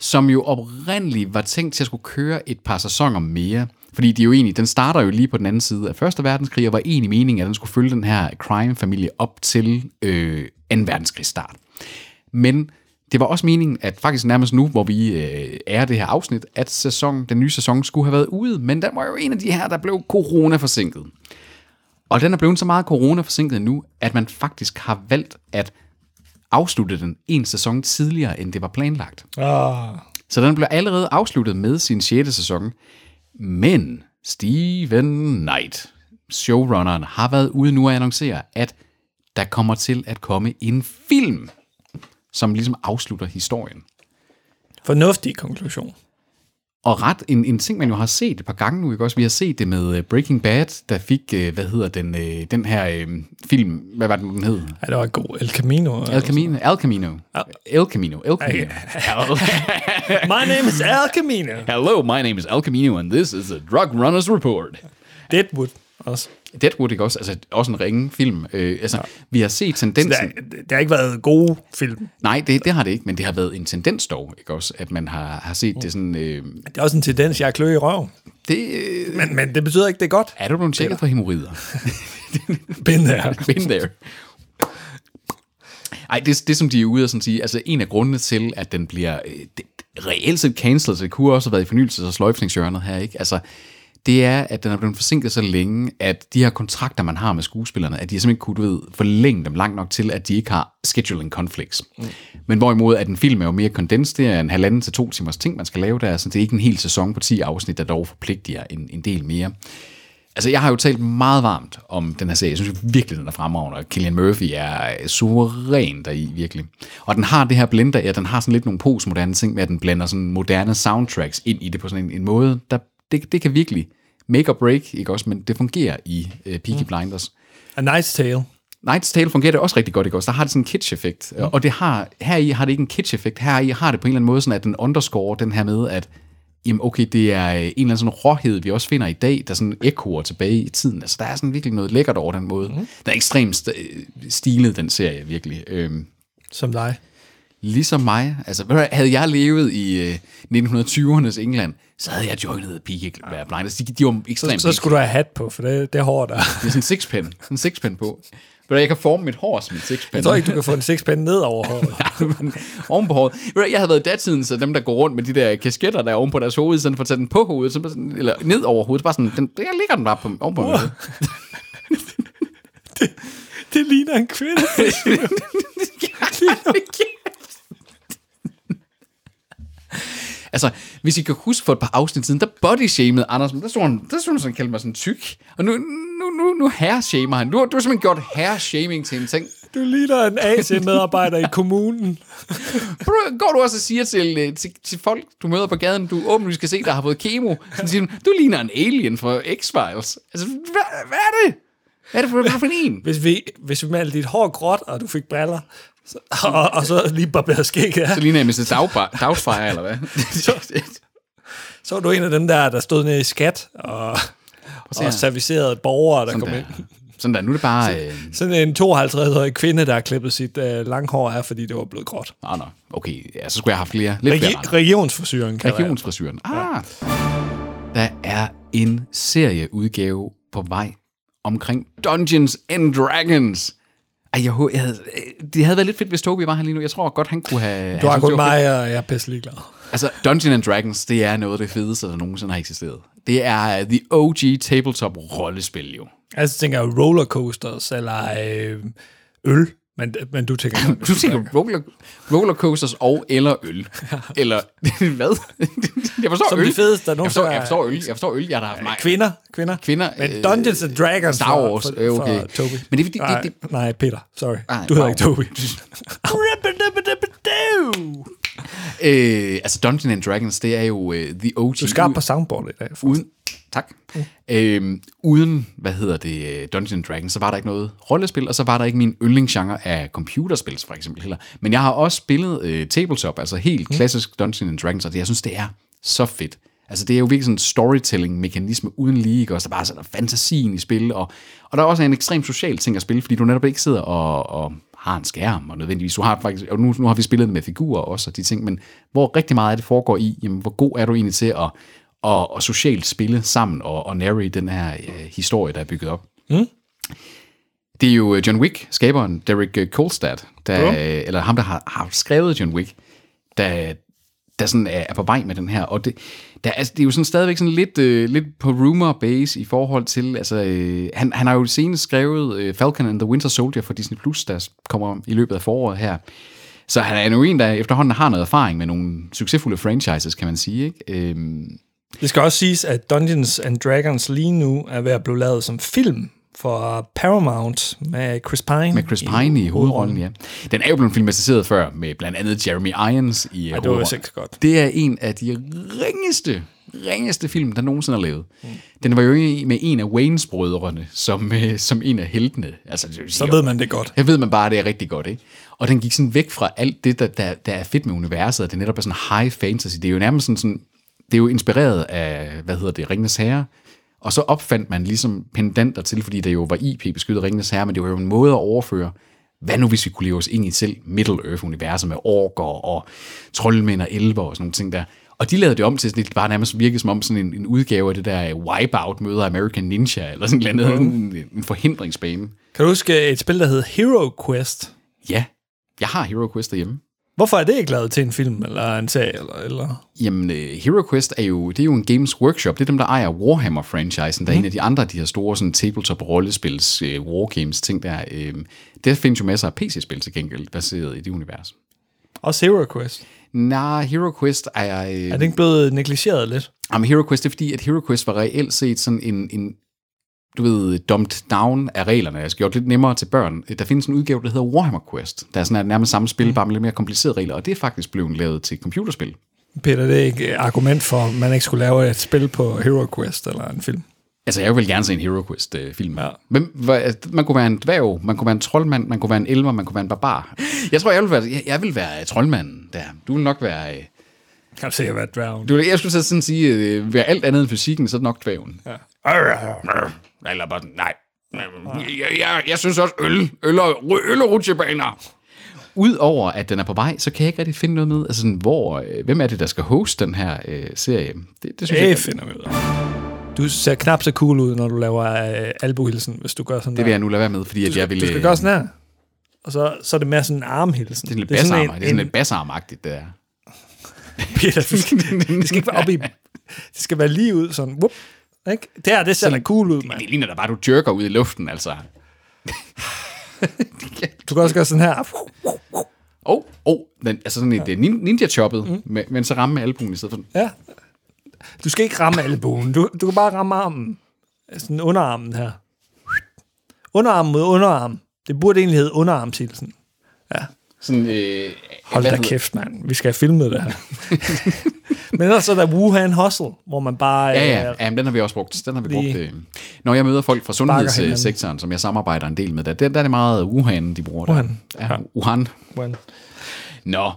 Speaker 2: som jo oprindeligt var tænkt til at skulle køre et par sæsoner mere. Fordi de er jo egentlig, den starter jo lige på den anden side af Første Verdenskrig, og var egentlig meningen, at den skulle følge den her crime-familie op til øh, 2. verdenskrigs start. Men det var også meningen, at faktisk nærmest nu, hvor vi øh, er det her afsnit, at sæson, den nye sæson skulle have været ude, men den var jo en af de her, der blev corona-forsinket. Og den er blevet så meget corona-forsinket nu, at man faktisk har valgt at afslutte den en sæson tidligere, end det var planlagt.
Speaker 1: Ah.
Speaker 2: Så den blev allerede afsluttet med sin 6. sæson. Men Steven Knight, showrunneren, har været ude nu og annoncere, at der kommer til at komme en film, som ligesom afslutter historien.
Speaker 1: Fornuftig konklusion.
Speaker 2: Og ret en, en ting, man jo har set et par gange nu, ikke også? Vi har set det med øh, Breaking Bad, der fik, øh, hvad hedder den, øh, den her øh, film, hvad var det nu, den hed?
Speaker 1: Ja, det var en god El Camino.
Speaker 2: El Camino. El Camino. El Camino. El Camino.
Speaker 1: My name is El Camino.
Speaker 2: Hello, my name is El Camino, and this is a Drug Runners Report.
Speaker 1: Deadwood også.
Speaker 2: Deadwood, ikke også? Altså, også en ringe film. Øh, altså, ja. vi har set
Speaker 1: Det
Speaker 2: tendensen...
Speaker 1: har, det har ikke været gode film.
Speaker 2: Nej, det, det har det ikke, men det har været en tendens dog, ikke også? At man har, har set det sådan... Øh,
Speaker 1: Det er også en tendens, jeg er klø i røven.
Speaker 2: det, øh,
Speaker 1: Men, men det betyder ikke, det er godt.
Speaker 2: er du blevet tjekket for hemorrider?
Speaker 1: Been there.
Speaker 2: Been there. Ej, det, det som de er ude og sådan sige, altså en af grundene til, at den bliver øh, det, reelt set cancelled, så det kunne også have været i fornyelses- og sløjfningsjørnet her, ikke? Altså, det er, at den er blevet forsinket så længe, at de her kontrakter, man har med skuespillerne, at de har simpelthen kunne, du ved, forlænge dem langt nok til, at de ikke har scheduling conflicts. Mm. Men hvorimod, at en film er jo mere kondens, det er en halvanden til to timers ting, man skal lave der, så det er ikke en hel sæson på 10 afsnit, der dog forpligtiger en, en del mere. Altså, jeg har jo talt meget varmt om den her serie. Jeg synes jo virkelig, den er fremragende, og Killian Murphy er suveræn deri, virkelig. Og den har det her blender, ja, den har sådan lidt nogle postmoderne ting med, at den blander sådan moderne soundtracks ind i det på sådan en, en måde, der, det, det kan virkelig make or break, ikke også, men det fungerer i øh, Peaky Blinders.
Speaker 1: A Nice Tale.
Speaker 2: Night's Tale fungerer det også rigtig godt, ikke også? Der har det sådan en kitsch-effekt, mm. og det har, her i har det ikke en kitsch-effekt, her i har det på en eller anden måde sådan, at den underscore den her med, at jamen okay, det er øh, en eller anden sådan råhed, vi også finder i dag, der sådan ekoer tilbage i tiden. Altså, der er sådan virkelig noget lækkert over den måde.
Speaker 1: Mhm.
Speaker 2: Mm. Den er ekstremt st- øh, stilet, den serie, virkelig. Øhm,
Speaker 1: Som dig.
Speaker 2: ligesom mig, altså, ved du hvad, havde jeg levet i øh, 1920'ernes England, så havde jeg joinet Peaky Blinders. Altså, De, de var
Speaker 1: Så,
Speaker 2: ekstremt
Speaker 1: så skulle du have hat på, for det, det er hårdt. der.
Speaker 2: Det er sådan en sixpen, sådan en sixpen på. Ved du hvad, jeg kan forme mit hår som en sixpen.
Speaker 1: Jeg tror ikke, du kan få en sixpence ned over håret.
Speaker 2: oven på håret. Ved du, Jeg havde været i datiden, så dem, der går rundt med de der kasketter, der er oven på deres hoved, i stedet for at tage den på hovedet, så bare sådan, eller ned over hovedet, så bare sådan, den, jeg ligger den bare på, oven på hovedet.
Speaker 1: Det ligner en kvinde.
Speaker 2: altså, hvis I kan huske for et par afsnit siden, der bodyshamede Anders, men der stod han, der stod han sådan, kaldte mig sådan tyk. Og nu, nu, nu, nu herreshamer han. Du, har- du har simpelthen gjort herreshaming til en ting.
Speaker 1: Du ligner en AC-medarbejder i kommunen.
Speaker 2: Prøv, går du også og siger til, øh, til, til folk, du møder på gaden, du åbenlyst kan se, der har fået kemo, så siger du, du ligner en alien fra X-Files. Altså, hvad, hvad er det? Hvad er det for, hvad er det for en?
Speaker 1: Hvis vi, hvis vi malede dit hår gråt, og du fik briller, så, og, og så lige barberede skægget af,
Speaker 2: Så ligner jeg Mrs. Doubtfire, Doubtfire eller hvad?
Speaker 1: så var du en af dem der, der stod nede i skat og, og servicerede borgere, der kom
Speaker 2: Sådan
Speaker 1: ind.
Speaker 2: der. Sådan der, nu er det bare... Øh,
Speaker 1: Sådan en 52-årig kvinde, der har klippet sit øh, langhår af, fordi det var blevet gråt.
Speaker 2: ah, nå, nå, okay, ja, så skulle jeg have haft flere. Lidt flere
Speaker 1: Regi- regionsforsyring kan det være.
Speaker 2: Regionsfrisøren. Ah. Der er en serieudgave på vej omkring Dungeons and Dragons. Ej, jeg, hå- jeg havde, øh, det havde været lidt fedt, hvis Tobi var her lige nu. Jeg tror godt, han kunne have...
Speaker 1: Du har
Speaker 2: han
Speaker 1: kun
Speaker 2: synes, det var fedt.
Speaker 1: mig, og jeg er pisse ligeglad.
Speaker 2: Altså, Dungeons and Dragons, det er noget af det fedeste, der nogensinde har eksisteret. Det er the OG tabletop-rollespil, jo.
Speaker 1: Altså tænker jeg rollercoasters eller øh, øl, men, men du tænker...
Speaker 2: Du tænker roller, rollercoasters og eller øl. Eller hvad? Jeg forstår
Speaker 1: Som
Speaker 2: øl.
Speaker 1: det fedeste, der
Speaker 2: jeg forstår,
Speaker 1: nogensinde
Speaker 2: jeg
Speaker 1: er-
Speaker 2: forstår øl. Jeg forstår øl. Jeg har da haft mange.
Speaker 1: Kvinder, kvinder.
Speaker 2: Kvinder, øh,
Speaker 1: Men Dungeons and Dragons
Speaker 2: Star Wars,
Speaker 1: for, for,
Speaker 2: øh, okay.
Speaker 1: for Toby.
Speaker 2: Men det er fordi- det-
Speaker 1: nej,
Speaker 2: det-
Speaker 1: nej, Peter, sorry.
Speaker 2: Nej,
Speaker 1: du hedder
Speaker 2: wow.
Speaker 1: ikke Toby. Ribbidibbidibbidoo.
Speaker 2: Øh, altså Dungeons and Dragons, det er jo øh, the OG.
Speaker 1: du er skarp på soundboard i dag. for-
Speaker 2: uden, tak. Øh, uden, hvad hedder det, øh, Dungeons and Dragons, så var der ikke noget rollespil, og så var der ikke min yndlingsgenre af computerspil, for eksempel heller. Men jeg har også spillet øh, tabletop, altså helt klassisk Dungeons and Dragons, og det, jeg synes, det er så fedt. Altså, det er jo virkelig sådan en storytelling-mekanisme uden lige, ikke? også? Der bare sådan fantasien i spil, og, og der er også en ekstrem social ting at spille, fordi du netop ikke sidder og, og har en skærm, og nødvendigvis, du har faktisk, og nu, nu har vi spillet med figurer også, og de ting, men hvor rigtig meget af det foregår i, jamen, hvor god er du egentlig til at, og, og socialt spille sammen, og, og narrate den her øh, historie, der er bygget op. Det er jo øh, John Wick, skaberen Derek øh, Kolstad, der, øh, eller ham, der har, har skrevet John Wick, der, der sådan er, er på vej med den her. Og det, der, altså, det er jo sådan stadigvæk sådan lidt, øh, lidt på rumor base i forhold til, altså øh, han, han har jo senest skrevet øh, Falcon and the Winter Soldier for Disney+, Plus, der kommer i løbet af foråret her. Så han er jo en, der efterhånden har noget erfaring med nogle succesfulde franchises, kan man sige. Ikke? Øhm,
Speaker 1: Det skal også siges, at Dungeons and Dragons lige nu er ved at blive lavet som film for Paramount med Chris Pine.
Speaker 2: med Chris Pine i hovedrollen, ja. Den er jo blevet filmatiseret før, med blandt andet Jeremy Irons i ja,
Speaker 1: det var vist ikke så godt.
Speaker 2: Det er en af de ringeste, ringeste film, der nogensinde er lavet. Mm. Den var jo i- med en af Waynes brødrene, som, øh, som en af heltene. Altså, det vil
Speaker 1: Så
Speaker 2: sige,
Speaker 1: ved man det godt.
Speaker 2: her ved man bare, at det er rigtig godt, ikke? Og den gik sådan væk fra alt det, der, der, der er fedt med universet, at det netop er sådan high fantasy. Det er jo nærmest sådan, sådan det er jo inspireret af, hvad hedder det, Ringenes Herre. Og så opfandt man ligesom pendanter til, fordi det jo var IP-beskyttet Ringenes Herre, men det var jo en måde at overføre, hvad nu hvis vi kunne leve os ind i selv Middle-Earth-universet med orker og troldmænd og elver og sådan nogle ting der. Og de lavede det om til, sådan, det bare nærmest virkede som om sådan en, en udgave af det der øh, Wipeout møder American Ninja, eller sådan noget andet, en, en forhindringsbane.
Speaker 1: Kan du huske et spil, der hed Hero Quest?
Speaker 2: Ja, jeg har Hero Quest derhjemme.
Speaker 1: Hvorfor er det ikke lavet til en film eller en serie? Eller, eller?
Speaker 2: Jamen, øh, HeroQuest er jo, det er jo en Games Workshop. Det er dem, der ejer Warhammer-franchisen, der er en af de andre af de her store sådan, tabletop-rollespils, øh, wargames-ting der. Øh, der findes jo masser af PC-spil til gengæld, baseret i det univers.
Speaker 1: Også Hero Quest.
Speaker 2: Nej, HeroQuest er... Øh,
Speaker 1: Er det ikke blevet negligeret lidt?
Speaker 2: Jamen, HeroQuest, det er fordi, at HeroQuest var reelt set sådan en, en du ved, dumped down af reglerne. Altså gjort lidt nemmere til børn. Der findes en udgave, der hedder Warhammer Quest. Der er sådan et nærmest samme spil, bare med lidt mere komplicerede regler. Og det er faktisk blevet lavet til computerspil.
Speaker 1: Peter, det er ikke et argument for, at man ikke skulle lave et spil på Hero Quest eller en film.
Speaker 2: Altså, jeg vil gerne se en HeroQuest-film.
Speaker 1: Ja.
Speaker 2: Ja. Men hvad- altså, man kunne være en dværg, man kunne være en troldmand, man kunne være en elver, man kunne være en barbar. Jeg tror, jeg vil være, jeg, jeg vil være øh, troldmanden der. Du vil nok være... øh,
Speaker 1: Kan du se, at være dværgen?
Speaker 2: Du, vil- jeg skulle så sådan sige, øh, være alt andet end fysikken, så er det nok dværgen. Ja. Eller bare sådan, nej. Jeg, jeg, jeg synes også øl, øl og, øl og rutsjebaner. Udover at den er på vej, så kan jeg ikke rigtig finde noget med, altså sådan, hvor, øh, hvem er det, der skal hoste den her øh, serie? Det, det synes jeg,
Speaker 1: Det
Speaker 2: ikke-
Speaker 1: finder vi ud af. Du ser knap så cool ud, når du laver øh, albuhilsen, hvis du gør sådan
Speaker 2: det
Speaker 1: der.
Speaker 2: vil jeg nu lade være med, fordi at
Speaker 1: du, skal,
Speaker 2: jeg vil...
Speaker 1: du skal
Speaker 2: øh,
Speaker 1: gøre sådan her. Og så, så er det mere sådan en armhilsen.
Speaker 2: Det er lidt bassarmer. Det er sådan lidt bassarmagtigt, det der.
Speaker 1: Peter, det skal, det skal ikke være op i... Det skal være lige ud, sådan... Whoop, ikke? Det her, det ser da cool ud, mand.
Speaker 2: Det ligner da bare, du jerker ud i luften, altså.
Speaker 1: Du kan også gøre sådan her.
Speaker 2: Åh, oh, oh, den, altså sådan et ja. ninja-choppet,
Speaker 1: Mhm.
Speaker 2: mm. men, men så ramme albuen i stedet for den.
Speaker 1: Ja. Du skal ikke ramme albuen. Du, du kan bare ramme armen. Sådan underarmen her. Underarm mod underarm. Det burde egentlig hedde underarmsilsen. Ja.
Speaker 2: Sådan, øh,
Speaker 1: Hold
Speaker 2: hvad
Speaker 1: da
Speaker 2: hedder-
Speaker 1: kæft, mand. Vi skal have filmet det her. Men ellers er der Wuhan Hustle, hvor man bare...
Speaker 2: Ja,
Speaker 1: øh,
Speaker 2: ja, ja men den har vi også brugt. Den har vi brugt.
Speaker 1: Lige-
Speaker 2: Øh. Når jeg møder folk fra
Speaker 1: hinanden.
Speaker 2: sundhedssektoren, som jeg samarbejder en del med, der, der, der er det meget Wuhan, de bruger
Speaker 1: Wuhan.
Speaker 2: der. Ja, Wuhan.
Speaker 1: Wuhan.
Speaker 2: Nå,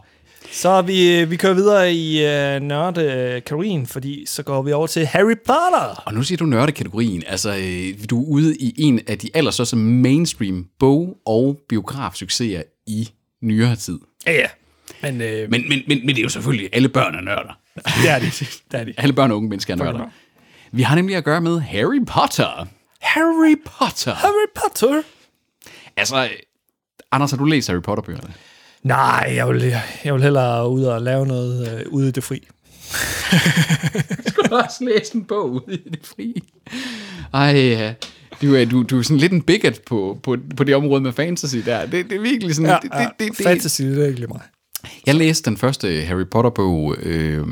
Speaker 1: Så er vi, vi kører videre i øh, nørdekategorien, fordi så går vi over til Harry Potter.
Speaker 2: og nu siger du nørdekategorien. Altså, øh, du er ude i en af de allerstørste mainstream bog- og biografsucceser i nyere tid.
Speaker 1: Ja, ja. Men, øh,
Speaker 2: Men, men, men, men det er jo selvfølgelig alle børn er nørder.
Speaker 1: det er det. det, er det.
Speaker 2: Alle børn og unge mennesker er nørder. Vi har nemlig at gøre med Harry Potter. Harry Potter.
Speaker 1: Harry Potter?
Speaker 2: Altså, øh, Anders, har du læst Harry Potter-bøgerne?
Speaker 1: Nej, jeg vil, jeg vil hellere ud og lave noget øh, ude i det fri.
Speaker 2: du har også læst en bog ude i det frie. Ej, ja. Du er, du, du er sådan lidt en bigot på, på, på det område med fantasy der. Det, det er virkelig sådan...
Speaker 1: Ja,
Speaker 2: det,
Speaker 1: ja.
Speaker 2: det, det, det.
Speaker 1: Fantasy, det er ikke lige mig.
Speaker 2: Jeg læste den første Harry Potter-bog øh,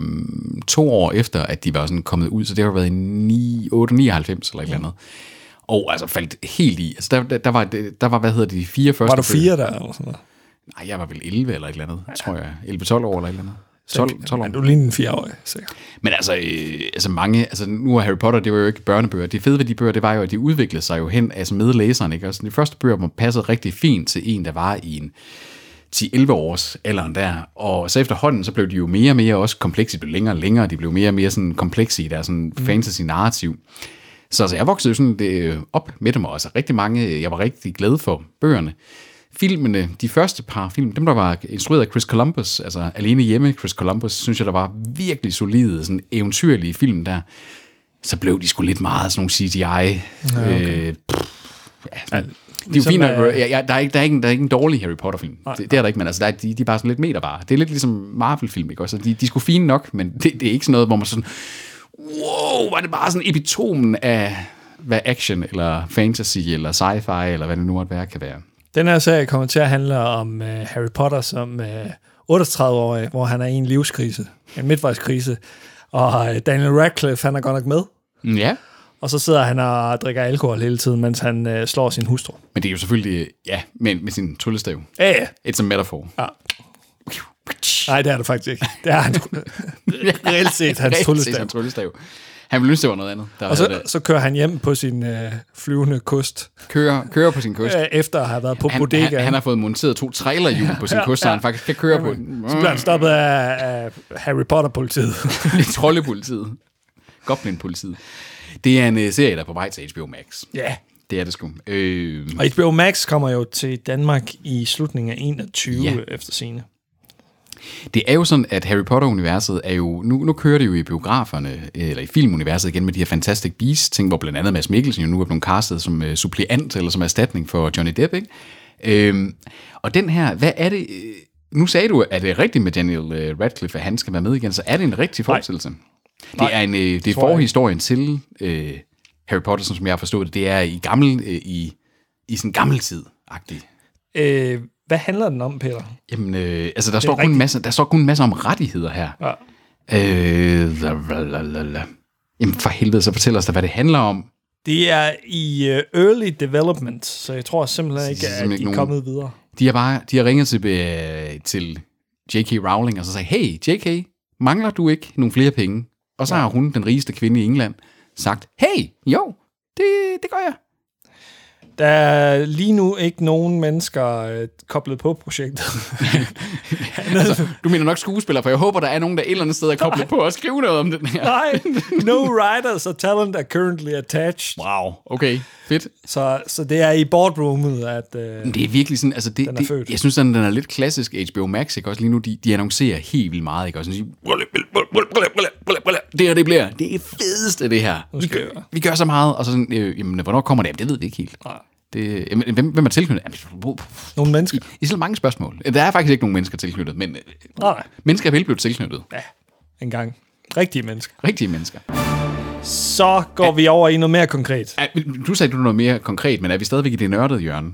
Speaker 2: to år efter, at de var sådan kommet ud, så det har været i 9, 8, 99 eller et eller andet. Og altså faldt helt i. Altså, der, der, der, var, der var, hvad hedder de, de fire første
Speaker 1: Var du
Speaker 2: bøger.
Speaker 1: fire der, eller sådan noget?
Speaker 2: Nej, jeg var vel 11 eller et eller andet, tror jeg. 11-12 år eller et eller andet. 12, 12 år.
Speaker 1: Men du ligner en fireårig, sikkert.
Speaker 2: Men altså, øh, altså mange, altså nu er Harry Potter, det var jo ikke børnebøger. Det fede ved de bøger, det var jo, at de udviklede sig jo hen altså med læseren. Ikke? Altså, de første bøger man passede rigtig fint til en, der var i en 10-11 års alderen der. Og så efterhånden, så blev de jo mere og mere også komplekse. De blev længere og længere, de blev mere og mere sådan komplekse i deres sådan fantasy-narrativ. Så altså, jeg voksede jo sådan det, op med dem, og altså, rigtig mange, øh, jeg var rigtig glad for bøgerne. Filmene, de første par film, dem der var instrueret af Chris Columbus, altså alene hjemme Chris Columbus, synes jeg, der var virkelig solide, sådan eventyrlige film der. Så blev de sgu lidt meget sådan nogle CGI. Ja, okay. øh, pff, ja, sådan, de er jo
Speaker 1: Ligesom,
Speaker 2: fint, nok,
Speaker 1: øh,
Speaker 2: ja, ja, der, er ikke, der, er ikke, en- der er ikke en dårlig Harry Potter-film. Det, det, er der ikke, men altså, der er, de, de er bare sådan lidt meterbare. Det er lidt ligesom Marvel-film, ikke også? Altså, De, de er sgu fine nok, men det, det er ikke sådan noget, hvor man sådan, wow, var det bare sådan epitomen af, hvad action, eller fantasy, eller sci-fi, eller hvad det nu måtte være, kan være.
Speaker 1: Den her serie kommer til at handle om uh, Harry Potter som uh, 38-årig, hvor han er i en livskrise, en midtvejskrise. Og uh, Daniel Radcliffe, han er godt nok med.
Speaker 2: Ja.
Speaker 1: Og så sidder han og drikker alkohol hele tiden, mens han uh, slår sin hustru.
Speaker 2: Men det er jo selvfølgelig, ja, med, med sin tryllestav.
Speaker 1: Ja, ja.
Speaker 2: It's a metaphor.
Speaker 1: Ja. Nej, det er det faktisk ikke. Det er han. Reelt set hans
Speaker 2: Rigtig
Speaker 1: tryllestav.
Speaker 2: hans tryllestav. Han ville ønske, det var noget andet. Der
Speaker 1: Og
Speaker 2: og
Speaker 1: så,
Speaker 2: det.
Speaker 1: så kører han hjem på sin uh, flyvende kost,
Speaker 2: Kører, kører på sin kost.
Speaker 1: uh, efter at have været på
Speaker 2: Han,
Speaker 1: bodega.
Speaker 2: han, han, har fået monteret to trailerhjul på sin kost, så han faktisk kan køre på den.
Speaker 1: Så bliver han stoppet af, af Harry Potter-politiet.
Speaker 2: Troldepolitiet. Goblin-politiet. Det er en uh, serie, der er på vej til HBO Max.
Speaker 1: Ja. yeah.
Speaker 2: Det er det sgu. Øh,
Speaker 1: Og HBO Max kommer jo til Danmark i slutningen af 21
Speaker 2: Ja.
Speaker 1: ja. efter scene.
Speaker 2: det er jo sådan, at Harry Potter-universet er jo... Nu, nu kører det jo i biograferne, eller i filmuniverset igen med de her Fantastic Beasts-ting, hvor blandt andet Mads Mikkelsen jo nu er blevet castet som uh, suppliant, eller som erstatning for Johnny Depp, ikke? Øhm, og den her, hvad er det... øh, Nu sagde du, at det er rigtigt med Daniel øh, Radcliffe, at han skal være med igen, så er det en rigtig forestillelse? Det er, en, øh, det er
Speaker 1: jeg ikke.
Speaker 2: forhistorien til øh, Harry Potter, sådan som jeg har forstået det. Det er i gammel, øh, i, i sådan gammel tid-agtig.
Speaker 1: Øh, hvad handler den om, Peter?
Speaker 2: Jamen, øh, altså, der står, kun en
Speaker 1: rigtigt.
Speaker 2: masse, der står kun en masse om rettigheder her.
Speaker 1: Ja.
Speaker 2: Øh, la, la, la, la, la. Jamen, for helvede, så fortæl os da, hvad det handler om.
Speaker 1: Det er i øh, early development, så jeg tror simpelthen ikke, at
Speaker 2: simpelthen
Speaker 1: de
Speaker 2: ikke
Speaker 1: er
Speaker 2: nogen-
Speaker 1: kommet videre.
Speaker 2: De har, bare, de har ringet til, øh, til J.K. Rowling og så sagt, hey, J.K., mangler du ikke nogle flere penge? Og så har hun, den rigeste kvinde i England, sagt, hey, jo, det, det gør jeg.
Speaker 1: Der er lige nu ikke nogen mennesker øh, koblet på projektet.
Speaker 2: Altså, du mener nok skuespiller, for jeg håber, der er nogen, der et eller andet sted er koblet på at skrive noget om den her.
Speaker 1: Nej, no writers or talent are currently attached.
Speaker 2: Wow, okay, fedt.
Speaker 1: Så, så det er i boardroomet, at... Øh,
Speaker 2: Men Det er virkelig sådan, altså det,
Speaker 1: Den er
Speaker 2: det,
Speaker 1: født.
Speaker 2: jeg synes, den, den er lidt klassisk HBO Max, ikke? Også lige nu, de, de annoncerer helt vildt meget, ikke? Også sådan, det her, det bliver, det er fedeste, det her. Vi gør, vi gør så meget, og så sådan, øh, jamen, hvornår kommer det? Jamen, det ved vi ikke helt. Det, jamen, hvem, hvem er tilknyttet? Jamen, puh, puh.
Speaker 1: nogle mennesker.
Speaker 2: I så mange spørgsmål. Der er faktisk ikke nogen mennesker tilknyttet, men øh,
Speaker 1: Nej,
Speaker 2: mennesker er vel blevet tilknyttet.
Speaker 1: ja, engang. Rigtige mennesker.
Speaker 2: Rigtige mennesker.
Speaker 1: Så går vi over i noget mere konkret.
Speaker 2: Ja, men Du sagde, du noget mere konkret, men er vi stadigvæk i det nørdede hjørne?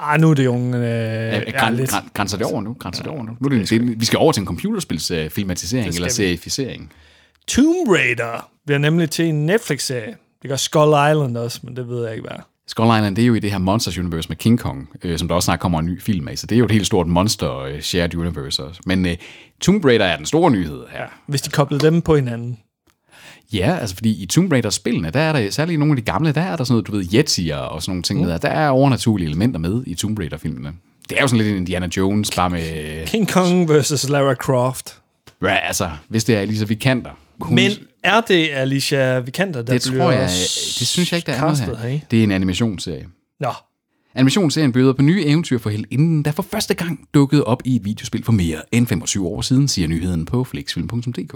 Speaker 1: Ah, nu er det jo en... Øh, ja,
Speaker 2: Øh, græn,
Speaker 1: lidt.
Speaker 2: græn, grænser det over nu? Grænser det over nu? nu er det, det, vi skal over til en computerspils øh, filmatisering eller
Speaker 1: vi.
Speaker 2: serificering.
Speaker 1: Tomb Raider bliver nemlig til en Netflix-serie. Det gør Skull Island også, men det ved jeg ikke, hvad er.
Speaker 2: Skull Island, det er jo i det her Monsters Universe med King Kong, øh, som der også snart kommer en ny film af, så det er jo et helt stort monster øh, shared universe også. Men øh, Tomb Raider er den store nyhed her.
Speaker 1: Hvis de koblede dem på hinanden.
Speaker 2: Ja, altså fordi i Tomb Raider-spillene, der er der, særligt i nogle af de gamle, der er der sådan noget, du ved, yetier og sådan nogle ting, mm. der, der er overnaturlige elementer med i Tomb Raider-filmene. Det er jo sådan lidt en Indiana Jones, bare med,
Speaker 1: King Kong versus Lara Croft.
Speaker 2: ja, altså, hvis det er Elisa Vikander. Hun,
Speaker 1: Men er det Alicia Vikander, der
Speaker 2: det
Speaker 1: bliver
Speaker 2: tror jeg, det synes jeg ikke, der er noget
Speaker 1: castet
Speaker 2: her. Det er en animationsserie.
Speaker 1: Nå,
Speaker 2: Animationsserien byder på nye eventyr for heldinden, der for første gang dukkede op i et videospil for mere end 25 år siden, siger nyheden på flixfilm.dk.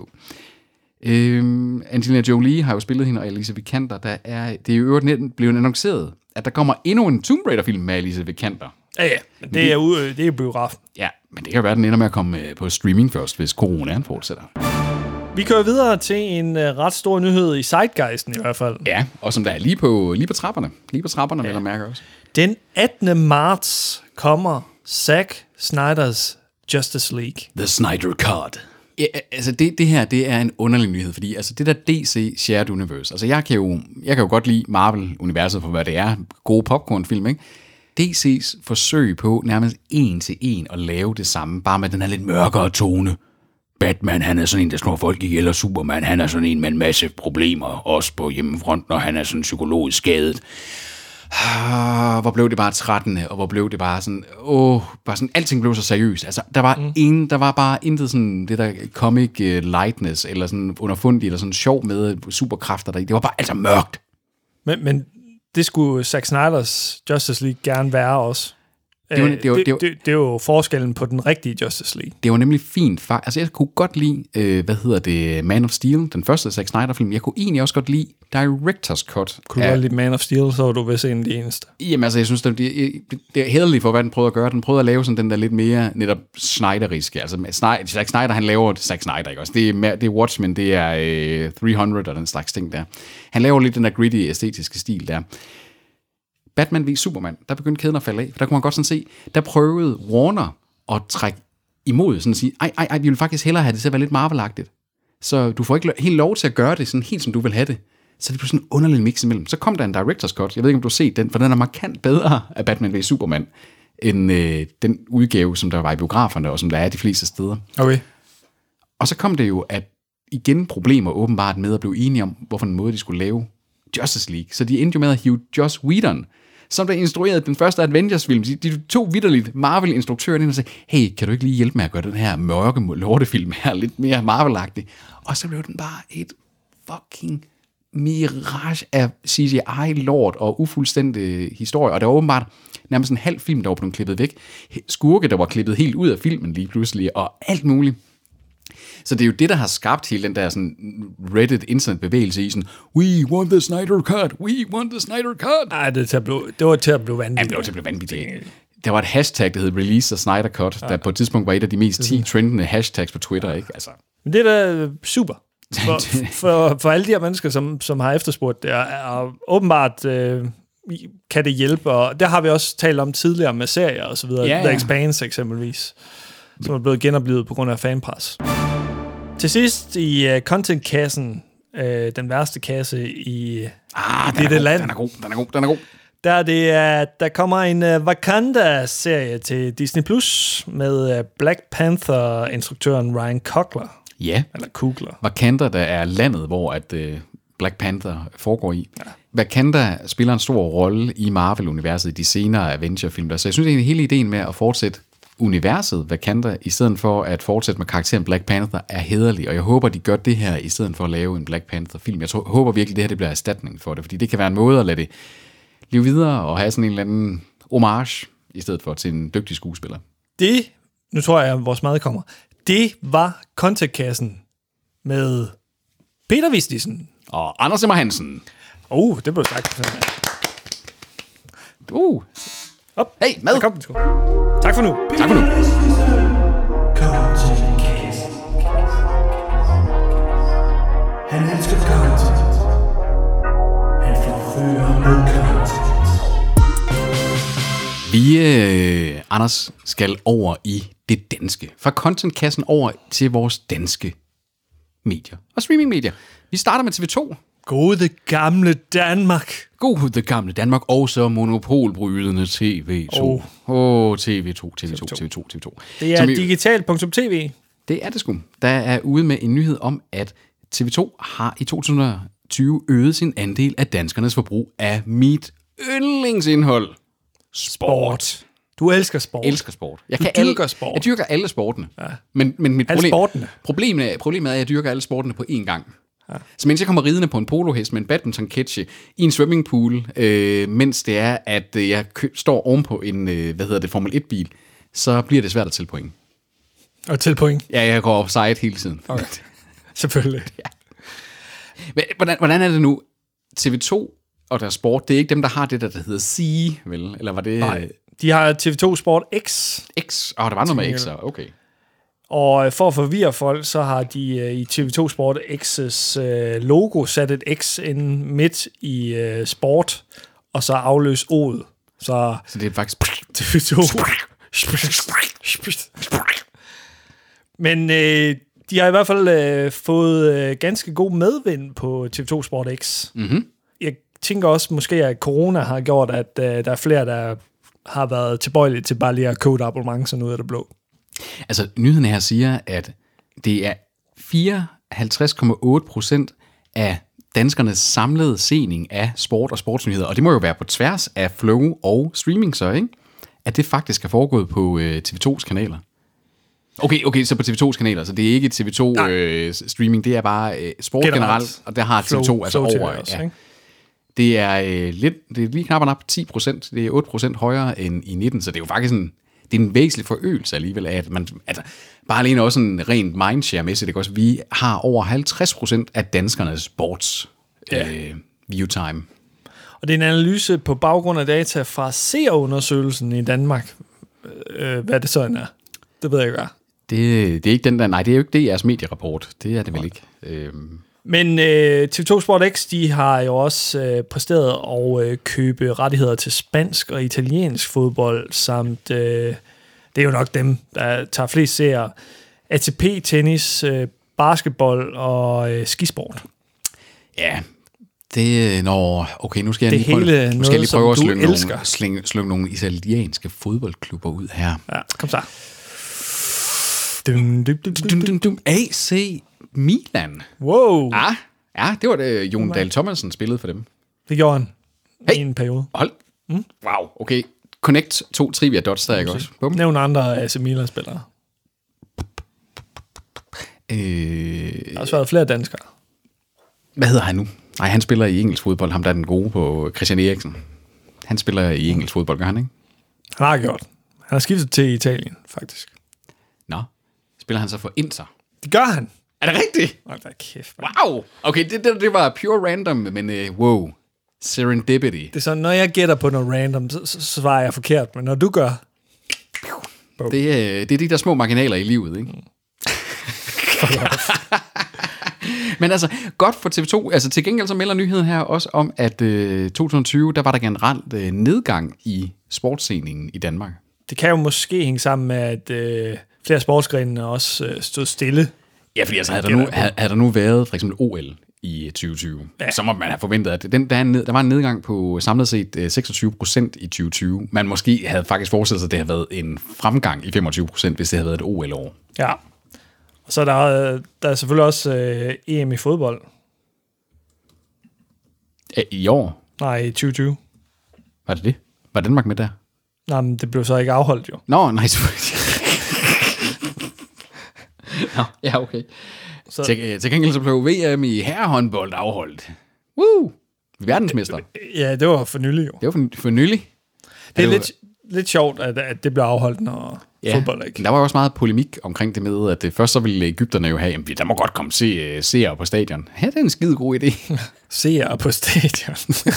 Speaker 2: Øhm, Angelina Jolie har jo spillet hende og Alice Vikander. Der er, det er jo i øvrigt net- blevet annonceret, at der kommer endnu en Tomb Raider-film med Alice Vikander.
Speaker 1: ja, ja. men Det er, ude, det er biografen.
Speaker 2: Ja, men det kan være, at den ender med at komme øh, på streaming først, hvis coronaen fortsætter.
Speaker 1: Vi kører videre til en uh, ret stor nyhed i Zeitgeisten i hvert fald.
Speaker 2: Ja, og som der er lige på, lige på trapperne. Lige på trapperne, ja. vil jeg mærke også.
Speaker 1: Den 18. marts kommer Zack Snyder's Justice League.
Speaker 2: The Snyder Cut. Ja, altså det, det her, det er en underlig nyhed, fordi altså det der DC Shared Universe, altså jeg kan jo, jeg kan jo godt lide Marvel-universet for, hvad det er, gode popcornfilm, ikke? DC's forsøg på nærmest en til en at lave det samme, bare med den her lidt mørkere tone. Batman, han er sådan en, der slår folk ihjel, og Superman, han er sådan en med en masse problemer, også på hjemmefronten, og han er sådan psykologisk skadet. Ah, hvor blev det bare 13. og hvor blev det bare sådan, åh, bare sådan, alting blev så seriøst. Altså, der var, mm. en, der var bare intet sådan, det der comic uh, lightness, eller sådan underfundig, eller sådan sjov med superkræfter deri. Det var bare altså mørkt.
Speaker 1: Men, men det skulle Zack Snyder's Justice League gerne være også.
Speaker 2: er jo-
Speaker 1: Øh,
Speaker 2: det er jo-
Speaker 1: det,
Speaker 2: det er jo-
Speaker 1: det, det, det er jo forskellen på den rigtige Justice League.
Speaker 2: Det var nemlig fint. Fa- altså, jeg kunne godt lide, øh, hvad hedder det, Man of Steel, den første Zack Snyder-film. Jeg kunne egentlig også godt lide Directors Cut.
Speaker 1: Kunne ja. du godt lide Man of Steel, så var du vist en af de eneste.
Speaker 2: Jamen altså, jeg synes, det, det, det er hederligt for, hvad den prøvede at gøre. Den prøvede at lave sådan den der lidt mere netop snyderiske. Altså, Snyder, Zack Snyder, han laver Zack Snyder, ikke også? Det er, mere- det er Watchmen, det er øh, 300 og den slags ting der. Han laver lidt den der gritty, æstetiske stil der. Batman v Superman, der begyndte kæden at falde af. For der kunne man godt sådan se, der prøvede Warner at trække imod, sådan at sige, ej, ej, ej, vi vil faktisk hellere have det til at være lidt marvelagtigt. Så du får ikke lo- helt lov til at gøre det sådan helt, som du vil have det. Så det blev sådan en underlig mix imellem. Så kom der en director's cut. Jeg ved ikke, om du har set den, for den er markant bedre af Batman v Superman, end øh, den udgave, som der var i biograferne, og som der er de fleste steder.
Speaker 1: Okay.
Speaker 2: Og så kom det jo, at igen problemer åbenbart med at blive enige om, hvorfor en måde de skulle lave Justice League. Så de endte jo med at hive Joss Whedon, som der instruerede den første Avengers-film. De, de tog vidderligt Marvel-instruktøren ind og sagde, hey, kan du ikke lige hjælpe med at gøre den her mørke lortefilm her lidt mere marvel Og så blev den bare et fucking mirage af CGI-lort og ufuldstændig historie. Og der var åbenbart nærmest en halv film, der var blevet klippet væk. Skurke, der var klippet helt ud af filmen lige pludselig, og alt muligt. Så det er jo det, der har skabt hele den der sådan Reddit internetbevægelse i sådan, we want the Snyder Cut, we want the Snyder Cut.
Speaker 1: Ej, det, er til at blive, det var til at blive
Speaker 2: Ja, det
Speaker 1: vanvittigt.
Speaker 2: blev til at blive vanvittigt. Der var et hashtag, der hed Release the Snyder Cut, der på et tidspunkt var et af de mest 10 trendende hashtags på Twitter, ikke? Altså,
Speaker 1: Men det er da øh, super. For, for, for alle de her mennesker, som, som har efterspurgt det, og, og åbenbart øh, i- kan det hjælpe, og det har vi også talt om tidligere med serier og så videre,
Speaker 2: Ja,
Speaker 1: ja,
Speaker 2: ja.
Speaker 1: ja. The Expanse eksempelvis, som er blevet genoplevet på grund af fanpres. Til sidst i uh, contentkassen, uh, den værste kasse i
Speaker 2: ah, den
Speaker 1: Det er det
Speaker 2: er, god,
Speaker 1: land.
Speaker 2: den er god, den er god, den er god.
Speaker 1: der er det, at der kommer en uh, Wakanda-serie til Disney+, Plus med uh, Black Panther-instruktøren Ryan Coogler,
Speaker 2: Ja,
Speaker 1: eller Kugler.
Speaker 2: Wakanda, der er landet, hvor at øh, Black Panther foregår i. Ja. Wakanda spiller en stor rolle i Marvel-universet i de senere Avenger-film. Så jeg synes egentlig, hele ideen med at fortsætte universet Wakanda, i stedet for at fortsætte med karakteren Black Panther, er hederlig. Og jeg håber, de gør det her, i stedet for at lave en Black Panther-film. Jeg tror, håber virkelig, det her det bliver erstatning for det, fordi det kan være en måde at lade det leve videre og have sådan en eller anden homage, i stedet for til en dygtig skuespiller.
Speaker 1: Det, nu tror jeg, at vores mad kommer. Det var kontaktkassen med Peter Vistisen.
Speaker 2: Og Anders Emmer Hansen.
Speaker 1: Oh, det blev sagt.
Speaker 2: Uh,
Speaker 1: Op,
Speaker 2: Hey, mad.
Speaker 1: der Kom, den sgu. tak for nu.
Speaker 2: tak for nu.
Speaker 6: Content. Han elsker content. Han forfører med content.
Speaker 2: Vi, øh, Anders, skal over i det danske. Fra contentkassen over til vores danske medier og streamingmedier. Vi starter med TV2.
Speaker 1: Gode gamle Danmark.
Speaker 2: God det gamle Danmark, og så monopolbrydende TV2. Åh,
Speaker 1: Åh.
Speaker 2: oh. TV2, TV2,
Speaker 1: TV2.
Speaker 2: TV2, TV2.
Speaker 1: Det er
Speaker 2: Som i-
Speaker 1: digitalt.tv.
Speaker 2: Det er det sgu. Der er ude med en nyhed om, at TV2 har i 2020 øget sin andel af danskernes forbrug af mit yndlingsindhold. Sport.
Speaker 1: Du elsker sport.
Speaker 2: Jeg elsker sport. Jeg
Speaker 1: Du dyrker
Speaker 2: alle,
Speaker 1: sport.
Speaker 2: Jeg dyrker alle sportene. Ja. Men, men mit
Speaker 1: Alle
Speaker 2: problem,
Speaker 1: sportene.
Speaker 2: Problemet, er, problemet er, at jeg dyrker alle sportene på én gang. Ja. Så mens jeg kommer ridende på en polohest med en badminton ketche i en swimmingpool, øh, mens det er, at øh, jeg kø- står ovenpå en, øh, hvad hedder det, Formel 1-bil, så bliver det svært at tælle point.
Speaker 1: Og til point,
Speaker 2: Ja, jeg går offside hele tiden.
Speaker 1: Okay. selvfølgelig.
Speaker 2: Men Hvordan, hvordan er det nu? TV2 og deres sport, det er ikke dem, der har det der, der hedder C, vel? Eller var det
Speaker 1: Nej. De har TV2 Sport X,
Speaker 2: øh, X? Åh, oh, der var noget med X, så okay.
Speaker 1: og øh, for at forvirre folk, så har de øh, i TV2 Sport X's øh, logo sat et X ind midt i øh, sport, og så afløs O'et. Så
Speaker 2: Så det er faktisk...
Speaker 1: TV2. Men øh, de har i hvert fald øh, fået øh, ganske god medvind på TV2 Sport X.
Speaker 2: Mm-hmm.
Speaker 1: Jeg tænker også måske, at corona har gjort, at øh, der er flere, der har været tilbøjelige til bare lige at købe et abonnement sådan ud af det blå.
Speaker 2: Altså, nyheden her siger, at det er 54,8 procent af danskernes samlede sening af sport og sportsnyheder, og det må jo være på tværs af flow og streaming så, ikke? At det faktisk er foregået på øh, TV2's kanaler. Okay, okay, så på TV2's kanaler, så det er ikke TV2
Speaker 1: Nej.
Speaker 2: øh, streaming, det er bare øh, sport generelt,
Speaker 1: Generelt.
Speaker 2: generelt, og der har TV2
Speaker 1: Flow-
Speaker 2: altså
Speaker 1: Flow TV
Speaker 2: over.
Speaker 1: også,
Speaker 2: ja.
Speaker 1: ikke?
Speaker 2: Det er øh, lidt, det er lige knap og nap 10 procent. Det er 8 procent højere end i 19, så det er jo faktisk en, det er en væsentlig forøgelse alligevel af, at man, altså, bare alene også en rent mindshare-mæssigt, ikke også? Vi har over 50 procent af danskernes sports ja. øh, view time.
Speaker 1: Og det er en analyse på baggrund af data fra SEER-undersøgelsen i Danmark. Øh, hvad det så end er. Det ved jeg ikke, hvad er.
Speaker 2: Det, det er ikke den der, nej, det er jo ikke DR's medierapport. Det er det vel ikke. Øhm,
Speaker 1: Men øh, TV2 Sport X, de har jo også øh, præsteret at øh, købe rettigheder til spansk og italiensk fodbold, samt, øh, det er jo nok dem, der tager flest serier, ATP, tennis, øh, basketball og øh, skisport.
Speaker 2: Ja, det når okay, nu skal jeg
Speaker 1: Det
Speaker 2: lige prøve,
Speaker 1: hele
Speaker 2: nu skal
Speaker 1: noget,
Speaker 2: jeg lige prøve
Speaker 1: som du
Speaker 2: at slynge nogle,
Speaker 1: elsker.
Speaker 2: slynge, slynge nogle italienske fodboldklubber ud her.
Speaker 1: Ja, kom så. Dum, dum, dum,
Speaker 2: Dum,
Speaker 1: dum, dum.
Speaker 2: dum, dum. AC Milan.
Speaker 1: Wow,
Speaker 2: Ja, ja, det var det, Jon Dahl Thomasen spillede for dem.
Speaker 1: det gjorde han
Speaker 2: Hey.
Speaker 1: i en periode.
Speaker 2: Hold. Mm. Wow, okay. Connect to trivia dots der, ikke også? Bum.
Speaker 1: Nævn andre AC Milan-spillere.
Speaker 2: Øh,
Speaker 1: Der har også været flere danskere.
Speaker 2: hvad hedder han nu? Nej, han spiller i engelsk fodbold. Ham der er den gode på Christian Eriksen. Han spiller i engelsk fodbold, gør han ikke?
Speaker 1: Han har gjort. Han har skiftet til Italien, faktisk.
Speaker 2: Nå. Spiller han så for Inter?
Speaker 1: Det gør han.
Speaker 2: Er det rigtigt?
Speaker 1: Hold da kæft, man.
Speaker 2: Wow! Okay, det, det, det var pure random, men øh, wow. Serendipity.
Speaker 1: Det er sådan, når jeg gætter på noget random, så, så så svarer jeg forkert. Men når du gør,
Speaker 2: Det, øh, det er de der små marginaler i livet, ikke? Mm. Men altså, godt for TV2. Altså, til gengæld så melder nyheden her også om, at øh, 2020, der var der generelt øh, nedgang i sportsscenen i Danmark.
Speaker 1: det kan jo måske hænge sammen med, at øh, flere sportsgrene også øh, stod stille.
Speaker 2: Ja, fordi altså, havde der, nu, havde, havde der nu været for eksempel OL i 2020, ja. så må man have forventet, at den, der, er en ned, der var en nedgang på samlet set øh, 26 procent i 2020. Man måske havde faktisk forestillet sig, at det havde været en fremgang i 25 procent, hvis det havde været et OL-år.
Speaker 1: Ja. Og så er der, øh, der er selvfølgelig også øh, EM i fodbold.
Speaker 2: Æ, I år
Speaker 1: Nej, i 2020.
Speaker 2: var det det. Var Danmark med der?
Speaker 1: Nej, men det blev så ikke afholdt jo.
Speaker 2: Nå, nej, selvfølgelig. Nå, ja, okay. Så. Til, øh, til gengæld så blev VM i herrehåndbold afholdt. Woo! Verdensmester.
Speaker 1: Ja, det var for nylig jo.
Speaker 2: Det var for, for nylig.
Speaker 1: Det er
Speaker 2: var-
Speaker 1: lidt, lidt sjovt, at, at det blev afholdt, når ja. fodbold er ikke.
Speaker 2: Der var jo også meget polemik omkring det med, at øh, først så ville Ægypterne jo have, jamen der må godt komme se, øh, seere på stadion. Ja, det er en skide god idé.
Speaker 1: Seere på stadion.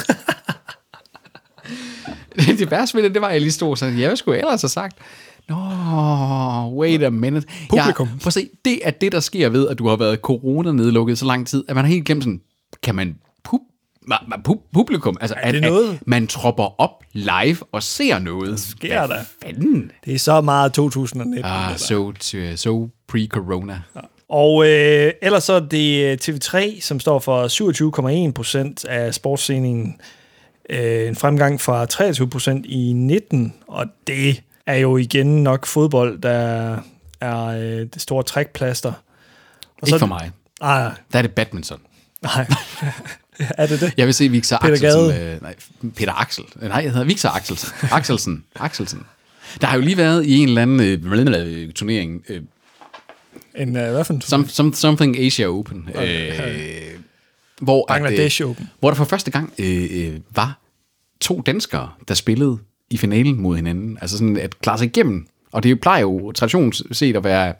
Speaker 2: det værste ved det, det var, at jeg lige stod og sagde, ja, hvad skulle jeg ellers have sagt? Nå, wait a minute.
Speaker 1: Publikum.
Speaker 2: Jeg, prøv at se, det er det, der sker ved, at du har været corona-nedlukket så lang tid, at man har helt glemt sådan, kan man pub, ma, ma, pub, publikum? Altså,
Speaker 1: det
Speaker 2: at,
Speaker 1: noget?
Speaker 2: At man tropper op live og ser noget.
Speaker 1: sker
Speaker 2: Hvad
Speaker 1: der?
Speaker 2: fanden?
Speaker 1: det er så meget 2019.
Speaker 2: Ah, so, t- so pre-corona.
Speaker 1: Og øh, ellers så er det øh, TV3, som står for 27,1 procent af sportsscenen. Øh, en fremgang fra 23 procent i 19, og det er jo igen nok fodbold, der er øh, det store trækplaster. Og
Speaker 2: Ikke for mig.
Speaker 1: Nej,
Speaker 2: Der er det badminton.
Speaker 1: nej. er det det?
Speaker 2: Jeg vil se Victor
Speaker 1: Peter
Speaker 2: Axelsen.
Speaker 1: Gade.
Speaker 2: Øh, nej, Peter Axel. Øh, Nej, jeg hedder Victor Axelsen. Axelsen. Axelsen. Der har jo lige været i en eller anden øh, øh, turnering, øh,
Speaker 1: En, øh, hvad for en
Speaker 2: some, some, Something Asia Open, øh, hvor, at, øh,
Speaker 1: Bangladesh Open.
Speaker 2: hvor der for første gang øh, øh, var to danskere, der spillede i finalen mod hinanden. Altså sådan at klare sig igennem. Og det jo- plejer jo traditionsset at være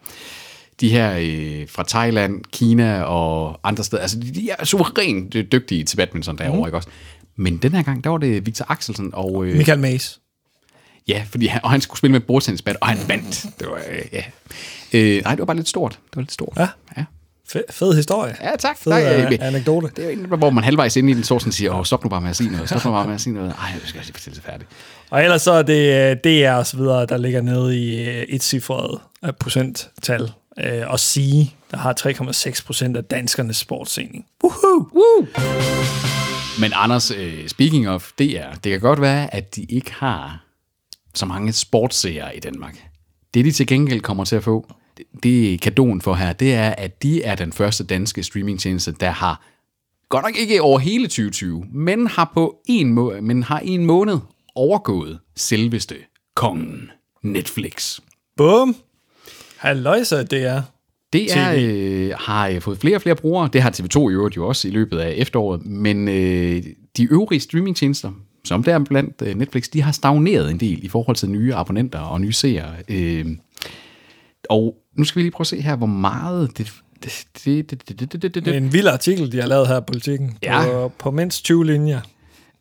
Speaker 2: de her øh, fra Thailand, Kina og andre steder. Altså, de de er suverænt øh, dygtige til badminton derovre,
Speaker 1: Mhm.
Speaker 2: mm. ikke også? Men den her gang, der var det Victor Axelsen, og øh,
Speaker 1: Michael Mays.
Speaker 2: ja, fordi han, og han skulle spille med et bordtennisbat, og han vandt. Det var, øh, ja. Øh, nej, det var bare lidt stort. Det var lidt stort.
Speaker 1: Ja.
Speaker 2: ja.
Speaker 1: Fed, fed historie.
Speaker 2: Ja, tak.
Speaker 1: Fed øh,
Speaker 2: øh,
Speaker 1: anekdote.
Speaker 2: det er jo en, hvor man halvvejs inde i den sådan siger, åh, stop nu bare med at sige noget, stop nu bare med at sige noget. Ej, jeg skal lige fortælle det færdigt.
Speaker 1: Og ellers så er det øh, DR og så videre, der ligger nede i øh, et cifret procenttal. Øh, Og sige, der har 3,6 procent af danskernes sportsscening.
Speaker 2: Men Anders, øh, speaking of DR, det kan godt være, at de ikke har så mange sportsseere i Danmark. Det, de til gengæld kommer til at få, det, det er kadoen for her, det er, at de er den første danske streamingtjeneste, der har godt nok ikke over hele 2020, men har på en, må- men har en måned overgået selveste kongen Netflix.
Speaker 1: Bum! Halløjsa, det er.
Speaker 2: Det er, øh, har øh, fået flere og flere brugere. Det har TV2 i øvrigt jo også i løbet af efteråret. Men øh, de øvrige streamingtjenester, som der er blandt øh, Netflix, de har stagneret en del i forhold til nye abonnenter og nye seere. Øh, og nu skal vi lige prøve at se her, hvor meget det... det, det, det, det, det, det, det,
Speaker 1: Det er
Speaker 2: det.
Speaker 1: en vild artikel, de har lavet her i politikken.
Speaker 2: Ja.
Speaker 1: På, på mindst 20 linjer.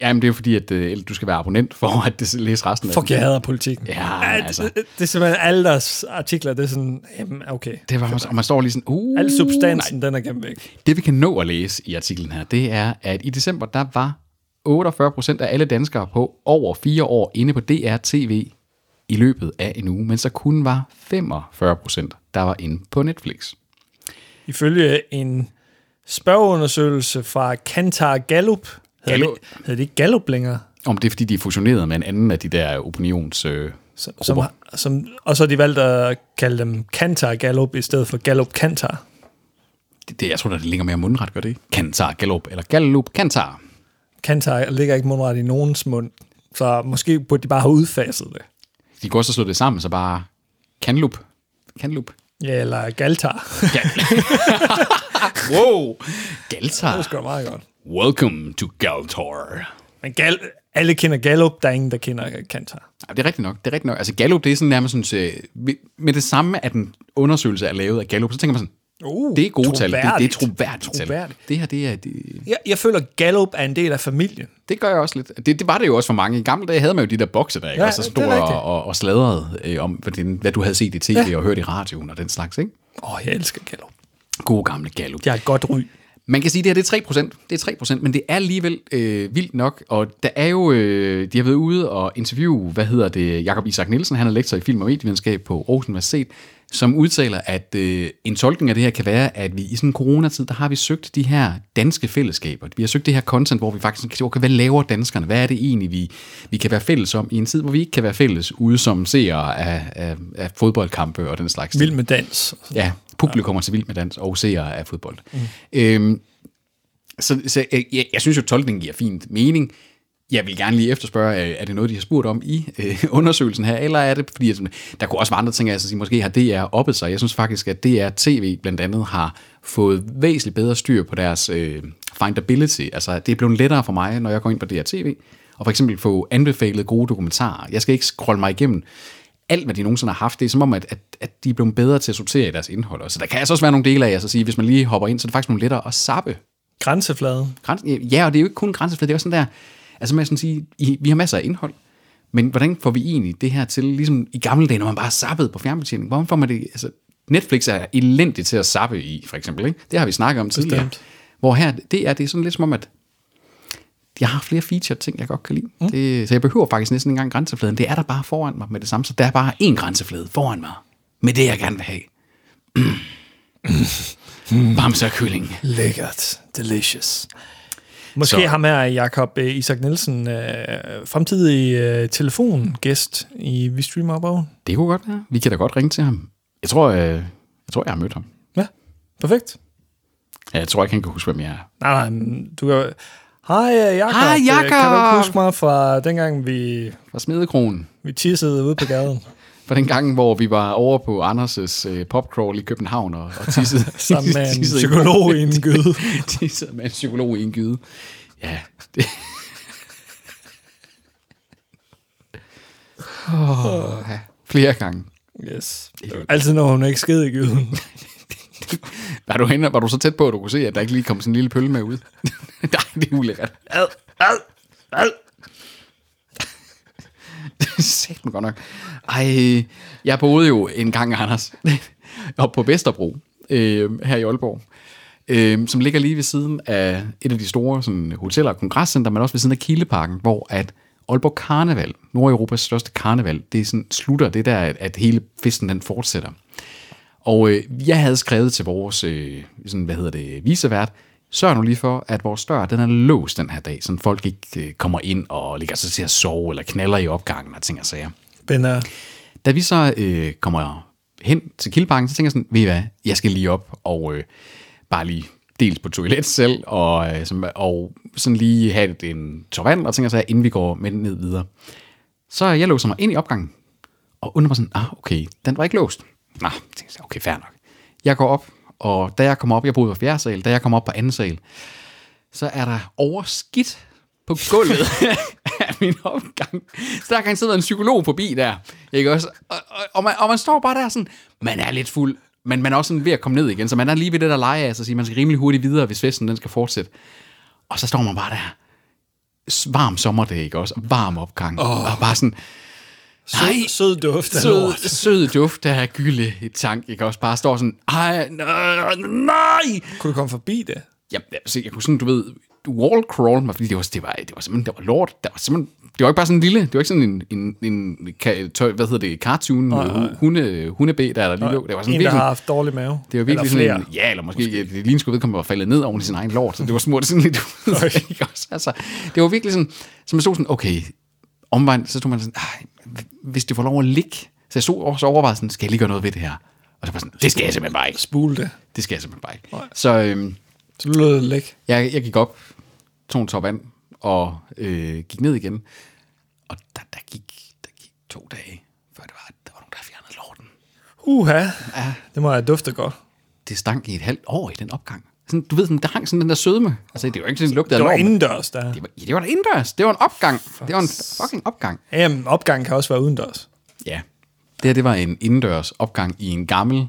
Speaker 2: Jamen, det er jo fordi, at øh, du skal være abonnent for at det- læse resten af
Speaker 1: Fuck,
Speaker 2: den.
Speaker 1: jeg hader politikken.
Speaker 2: Ja,
Speaker 1: Ej,
Speaker 2: altså.
Speaker 1: Det, det er simpelthen alle deres artikler, det er sådan, jamen okay.
Speaker 2: Det var, og man står lige sådan... Uh,
Speaker 1: Al substansen, den er gemt væk.
Speaker 2: Det vi kan nå at læse i artiklen her, det er, at i december, der var 48 procent af alle danskere på over fire år inde på DR TV i løbet af en uge, mens der kun var 45 procent, der var inde på Netflix.
Speaker 1: Ifølge en spørgeundersøgelse fra Kantar Gallup, hedder,
Speaker 2: Gallup.
Speaker 1: Det, hedder det ikke Gallup længere?
Speaker 2: Om det er, fordi de er fusioneret med en anden af de der opinions... Øh,
Speaker 1: Som, som, som, og så har de valgt at kalde dem Kantar Gallup i stedet for Gallup Kantar.
Speaker 2: det, det, jeg tror, der det ligger mere mundret, gør det ikke? Kantar Gallup, eller Gallup Kantar.
Speaker 1: Kantar ligger ikke mundret i nogens mund, så måske burde de bare have udfaset det.
Speaker 2: De kan også slå det sammen, så bare Kanlup. Kanlup.
Speaker 1: Ja, eller Galtar.
Speaker 2: Wow!
Speaker 1: Det er
Speaker 2: Galtar.
Speaker 1: sgu da meget godt.
Speaker 2: Welcome to Galtar.
Speaker 1: Men gal, alle kender Gallup, der er ingen, der kender Kantar.
Speaker 2: Ja, det er rigtigt nok. Det er rigtigt nok. Altså Gallup, det er sådan nærmest sådan, øh, ved- med det samme, at en undersøgelse er lavet af Gallup, så tænker man sådan,
Speaker 1: Uh,
Speaker 2: det er gode tal. Det, det er
Speaker 1: troværdigt.
Speaker 2: troværdigt,
Speaker 1: Troværdigt.
Speaker 2: tal. Det her, det er... Det,
Speaker 1: Jeg, jeg føler, Gallup er en del af familien.
Speaker 2: det gør jeg også lidt. Det, det, var det jo også for mange. I gamle dage havde man jo de der bokse, der
Speaker 1: Ja,
Speaker 2: ikke? Ja, også
Speaker 1: det er
Speaker 2: stod
Speaker 1: rigtigt.
Speaker 2: og, og, og sladrede øh, om, hvad, det, hvad du havde set i tv ja. og hørt i radioen og den slags, ikke?
Speaker 1: Åh, oh, jeg elsker Gallup.
Speaker 2: Gode gamle Gallup.
Speaker 1: De har et godt ry.
Speaker 2: Man kan sige, at det her det er 3%, det er 3%, men det er alligevel øh, vildt nok, og der er jo, øh, de har været ude og interviewe, hvad hedder det, Jakob Isak Nielsen, han er lektor i film- og medievidenskab på Aarhus Universitet, som udtaler, at øh, en tolkning af det her kan være, at vi i sådan en coronatid, der har vi søgt de her danske fællesskaber. Vi har søgt det her content, hvor vi faktisk kan se, okay, hvad laver danskerne? Hvad er det egentlig, vi, vi kan være fælles om i en tid, hvor vi ikke kan være fælles ude som seere af, af, af fodboldkampe og den slags
Speaker 1: Vild med dans.
Speaker 2: ja, publikum er til vild med dans og seere af fodbold. Mm. Øhm, så så jeg, jeg, jeg synes jo, tolkningen giver fint mening. Jeg vil gerne lige efterspørge, øh, er det noget, de har spurgt om i øh, undersøgelsen her, eller er det, fordi at, øh, der kunne også være andre ting, altså sige, måske har DR oppet sig. Jeg synes faktisk, at DR TV blandt andet har fået væsentligt bedre styr på deres øh, findability. Altså, det er blevet lettere for mig, når jeg går ind på DR TV, og for eksempel få anbefalet gode dokumentarer. Jeg skal ikke scrolle mig igennem alt, hvad de nogensinde har haft. Det er som om, at, at, at de er blevet bedre til at sortere i deres indhold. også. Så der kan altså også være nogle dele af, jeg så sige, hvis man lige hopper ind, så er det faktisk nogle lettere at zappe
Speaker 1: Grænsefladen.
Speaker 2: grænse, ja, og det er jo ikke kun grænseflade, det er også sådan der, altså man sådan sige, I, vi har masser af indhold, men hvordan får vi egentlig det her til, ligesom i gamle dage, når man bare zappede på fjernbetjening, hvordan får man det, altså Netflix er elendig til at zappe i, for eksempel, ikke? det har vi snakket om tidligere,
Speaker 1: Bestemt.
Speaker 2: hvor her, det er, det er sådan lidt som om, at jeg har flere feature ting, jeg godt kan lide. Mm. Det, så jeg behøver faktisk næsten ikke engang grænsefladen. Det er der bare foran mig med det samme. Så der er bare én grænseflade foran mig med det, jeg gerne vil have. Bamse og kylling.
Speaker 1: Lækkert. Delicious. Måske
Speaker 2: Så-
Speaker 1: så. ham her, Jakob øh, Isak Nielsen, øh, fremtidig øh, telefongæst i Vi Streamer Bogen.
Speaker 2: Det kunne godt være. Vi kan da godt ringe til ham. Jeg tror, øh, jeg, tror jeg har mødt ham.
Speaker 1: Ja, perfekt.
Speaker 2: Ja, Jeg tror ikke, han kan huske, hvem jeg er.
Speaker 1: Nej, nej, men du kan... Hej, øh, Jakob.
Speaker 2: Hej,
Speaker 1: Øh, Kan du
Speaker 2: Jakob.
Speaker 1: ikke huske mig fra dengang, vi,
Speaker 2: Fra Smedekronen.
Speaker 1: vi tissede ude på gaden?
Speaker 2: Fra den gang, hvor vi var over på Anders' øh, popcrawl i København og, og tissede.
Speaker 1: Sammen med en
Speaker 2: tissede i-
Speaker 1: psykolog i en gyde.
Speaker 2: tissede med en psykolog i en gyde. Ja. Det. Oh, ja. Flere gange.
Speaker 1: Yes. Altid når hun ikke skede i gyden.
Speaker 2: Var du, henne, var du så tæt på, at du kunne se, at der ikke lige kom sådan en lille pølle med ud? Nej, det er ulækkert. Ad, ad, ad. Sæt mig godt nok. Ej, jeg boede jo en gang, Anders, oppe på Vesterbro, øh, her i Aalborg, øh, som ligger lige ved siden af et af de store sådan, hoteller og kongresscenter, men også ved siden af Kildeparken, hvor at Aalborg Karneval, Nordeuropas største karneval, det er sådan, slutter, det er der, at- at hele festen den fortsætter. Og øh, jeg havde skrevet til vores, øh, sådan, hvad hedder det, visevært, sørg nu lige for, at vores dør, den er låst den her dag, så folk ikke øh, kommer ind og ligger sig til at sove, eller knaller i opgangen og ting og sager.
Speaker 1: Bender.
Speaker 2: Da vi så øh, kommer hen til Kildeparken, så tænker jeg sådan, ved I hvad, jeg skal lige op og øh, bare lige dels på toilet selv, og, øh, som, og sådan lige have et- en tår vand, og tænker så, inden vi går med ned videre. Så jeg låser mig ind i opgangen, og undrer mig sådan, ah, okay, den var ikke låst. Nå, tænker jeg, okay, fair nok. Jeg går op, og da jeg kommer op, jeg boede på fjerde sal, da jeg kommer op på anden sal, så er der overskidt på gulvet af min opgang. Så der kan sidde en psykolog forbi der, ikke også? Og, og, og, man, og man står bare der sådan, man er lidt fuld, men man er også sådan ved at komme ned igen, så man er lige ved det der leje af sig, siger, man skal rimelig hurtigt videre, hvis festen den skal fortsætte. Og så står man bare der, S- varm sommerdag, ikke også? Og varm opgang, oh. og bare sådan, nej,
Speaker 1: Sød, sød duft af
Speaker 2: sød,
Speaker 1: lort.
Speaker 2: sød duft af gylde i tank, ikke også? Bare står sådan, ej, nej, nej,
Speaker 1: Kunne du komme forbi det?
Speaker 2: jeg, jeg, altså, jeg kunne sådan, du ved, wall crawl mig, fordi det var, det var, det var simpelthen, der var lort, der var simpelthen, det var ikke bare sådan en lille, det var ikke sådan en, en, en ka- tøj, hvad hedder det, cartoon, uh, hunde, hundebe, der, der lige lå, det var sådan
Speaker 1: En, der
Speaker 2: virkelig,
Speaker 1: har haft dårlig mave.
Speaker 2: det var virkelig
Speaker 1: Eller
Speaker 2: sådan en, ja, eller måske, måske. det lignede sgu vedkommende var faldet ned oven i sin egen lort, så det var smurt sådan lidt ud, ikke også? Altså, det var virkelig sådan, så man stod sådan, okay, omvejen, så stod man sådan, "Ej, hvis det får lov at ligge, så jeg stod også og overvejede sådan, skal jeg lige gøre noget ved det her? Og så var jeg sådan, det skal jeg simpelthen bare ikke.
Speaker 1: Spule det.
Speaker 2: Det skal jeg simpelthen bare ikke. Så, øhm,
Speaker 1: Så du lød det læk.
Speaker 2: jeg, jeg gik op, tog en top vand og øh, gik ned igen. Og der, der, gik, der gik to dage, før det var, at der var nogen, der fjernede lorten.
Speaker 1: Uha. Ja. Det må have duftet godt.
Speaker 2: Det stank i et halvt år i den opgang. Sådan, du ved, sådan, der hang sådan den der sødme. Altså, det var ikke sådan, det lugtede
Speaker 1: Det var
Speaker 2: af lort, men
Speaker 1: indendørs, der.
Speaker 2: Det var, ja, det var da indendørs. Det var en opgang. Det var en fucking opgang.
Speaker 1: Jamen, opgangen kan også være udendørs.
Speaker 2: Ja. Det her, det var en indendørs opgang i en gammel...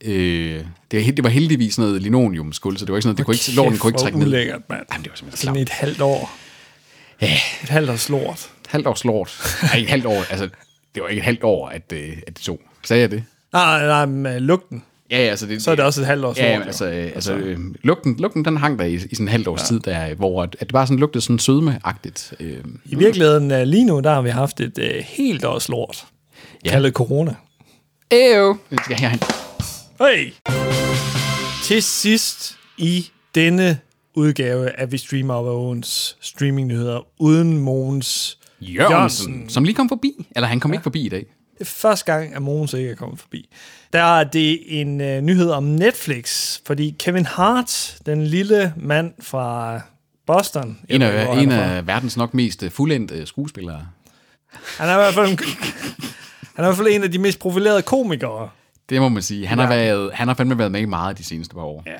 Speaker 2: Øh, det, var, hel- det var heldigvis noget linoleumskuld, så det var ikke sådan noget, det kunne ikke, lorten kunne ikke trække ned.
Speaker 1: ulækkert, mand.
Speaker 2: Jamen, det var simpelthen
Speaker 1: Sådan
Speaker 2: klamt.
Speaker 1: i et halvt år. Ja. Et halvt års lort.
Speaker 2: halvt års lort. Nej, ikke et halvt år. Altså, det var ikke et halvt år, at, øh, at det tog. Sagde jeg det?
Speaker 1: Nej, nej, men øh, lugten.
Speaker 2: Ja, ja, altså det,
Speaker 1: Så er det også et halvt års
Speaker 2: Ja,
Speaker 1: lort,
Speaker 2: jamen,
Speaker 1: jo.
Speaker 2: altså, øh, altså øh, lugten, lugten, den hang der i, i sådan en halvt års ja. tid, der, øh, hvor at, at det bare sådan lugtede sådan sødmeagtigt. Øh,
Speaker 1: I virkeligheden, øh, lige nu, der har vi haft et øh, helt års lort.
Speaker 2: Ja.
Speaker 1: Ja. Kaldet corona.
Speaker 2: Ejo! Den skal jeg herhen.
Speaker 1: Hey! Til sidst i denne udgave af Vi Streamer Over Åens streamingnyheder uden Mogens
Speaker 2: Jørgensen,
Speaker 1: Jørgensen.
Speaker 2: som lige kom forbi. Eller han kom ja. ikke forbi i dag.
Speaker 1: Det er første gang, at Mogens ikke er kommet forbi. Der er det en øh, nyhed om Netflix, fordi Kevin Hart, den lille mand fra Boston, jeg
Speaker 2: En
Speaker 1: ved ikke, hvor
Speaker 2: af, en
Speaker 1: han, er fra.
Speaker 2: af verdens nok mest øh, fuldendte skuespillere.
Speaker 1: han er i hvert fald en, han er i hvert fald en af de mest profilerede komikere.
Speaker 2: Det må man sige. Han, ja. har, været, han har fandme været med i meget de seneste par år. Ja.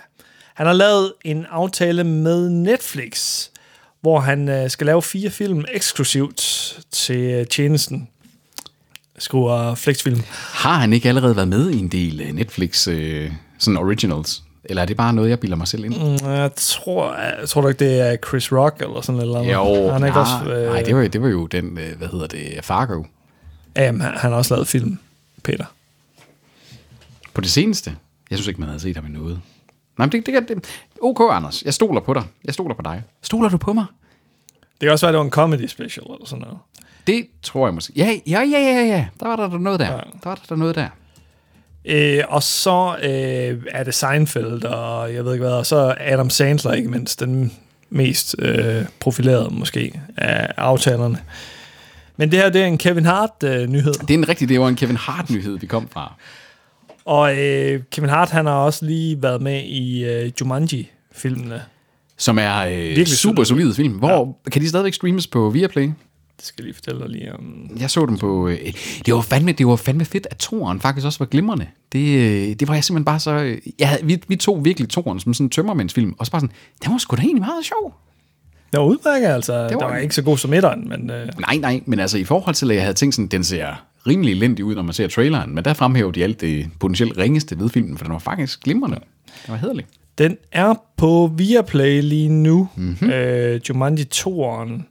Speaker 1: Han har lavet en aftale med Netflix, hvor han øh, skal lave fire film eksklusivt til øh, tjenesten. Skriver Flexfilm.
Speaker 2: Har han ikke allerede været med i en del øh, Netflix øh, sådan originals? Eller er det bare noget, jeg bilder mig selv ind?
Speaker 1: Mm, Jeg tror, jeg tror du ikke, det er Chris Rock eller sådan et eller andet?
Speaker 2: Jo,
Speaker 1: han er ikke også, øh,
Speaker 2: nej, det var, det var jo den, øh, hvad hedder det, Fargo.
Speaker 1: Jamen, Øhm, han han har også lavet film, Peter.
Speaker 2: På det seneste. Jeg synes ikke, man havde set ham i noget. Nej, men det, det, det, ok, Anders. Jeg stoler på dig. Jeg stoler på dig. Stoler du på mig?
Speaker 1: Det kan også være, det var en comedy special eller sådan noget.
Speaker 2: Det tror jeg måske. Ja, ja, ja, ja, ja. Der var der, der noget der. Ja. Der var der, der noget der.
Speaker 1: Øh, og så øh, er det Seinfeld, og jeg ved ikke hvad, og så Adam Sandler, ikke mindst, den mest øh, profilerede måske af aftalerne. Men det her, det er en Kevin Hart-nyhed. Øh, nyhed.
Speaker 2: Det er en rigtig, det var en Kevin Hart-nyhed, vi kom fra.
Speaker 1: og øh, Kevin Hart, han har også lige været med i øh, Jumanji-filmene.
Speaker 2: Som er øh,
Speaker 1: Virkelig
Speaker 2: super solid film. Hvor ja. kan de stadigvæk streames på Viaplay?
Speaker 1: Det skal jeg lige fortælle dig lige om.
Speaker 2: Jeg så dem på... Øh, det, var fandme, det var fandme fedt, at toren faktisk også var glimrende. Det, øh, det var jeg simpelthen bare så... Øh, jeg havde, vi, vi tog virkelig toren som sådan en tømmermændsfilm. Og så bare sådan, den var sgu da egentlig meget sjov.
Speaker 1: Det var udmærket, altså. Det var,
Speaker 2: var
Speaker 1: der var
Speaker 2: den.
Speaker 1: ikke så god som etteren, men... Øh,
Speaker 2: Nej, nej, men altså i forhold til, at jeg havde tænkt sådan, den ser rimelig elendig ud, når man ser traileren. Men der fremhæver de alt det potentielt ringeste ved filmen, for den var faktisk glimrende. Den var hederlig.
Speaker 1: Den er på Viaplay lige nu, mm-hmm. øh, Jumanji 2'eren,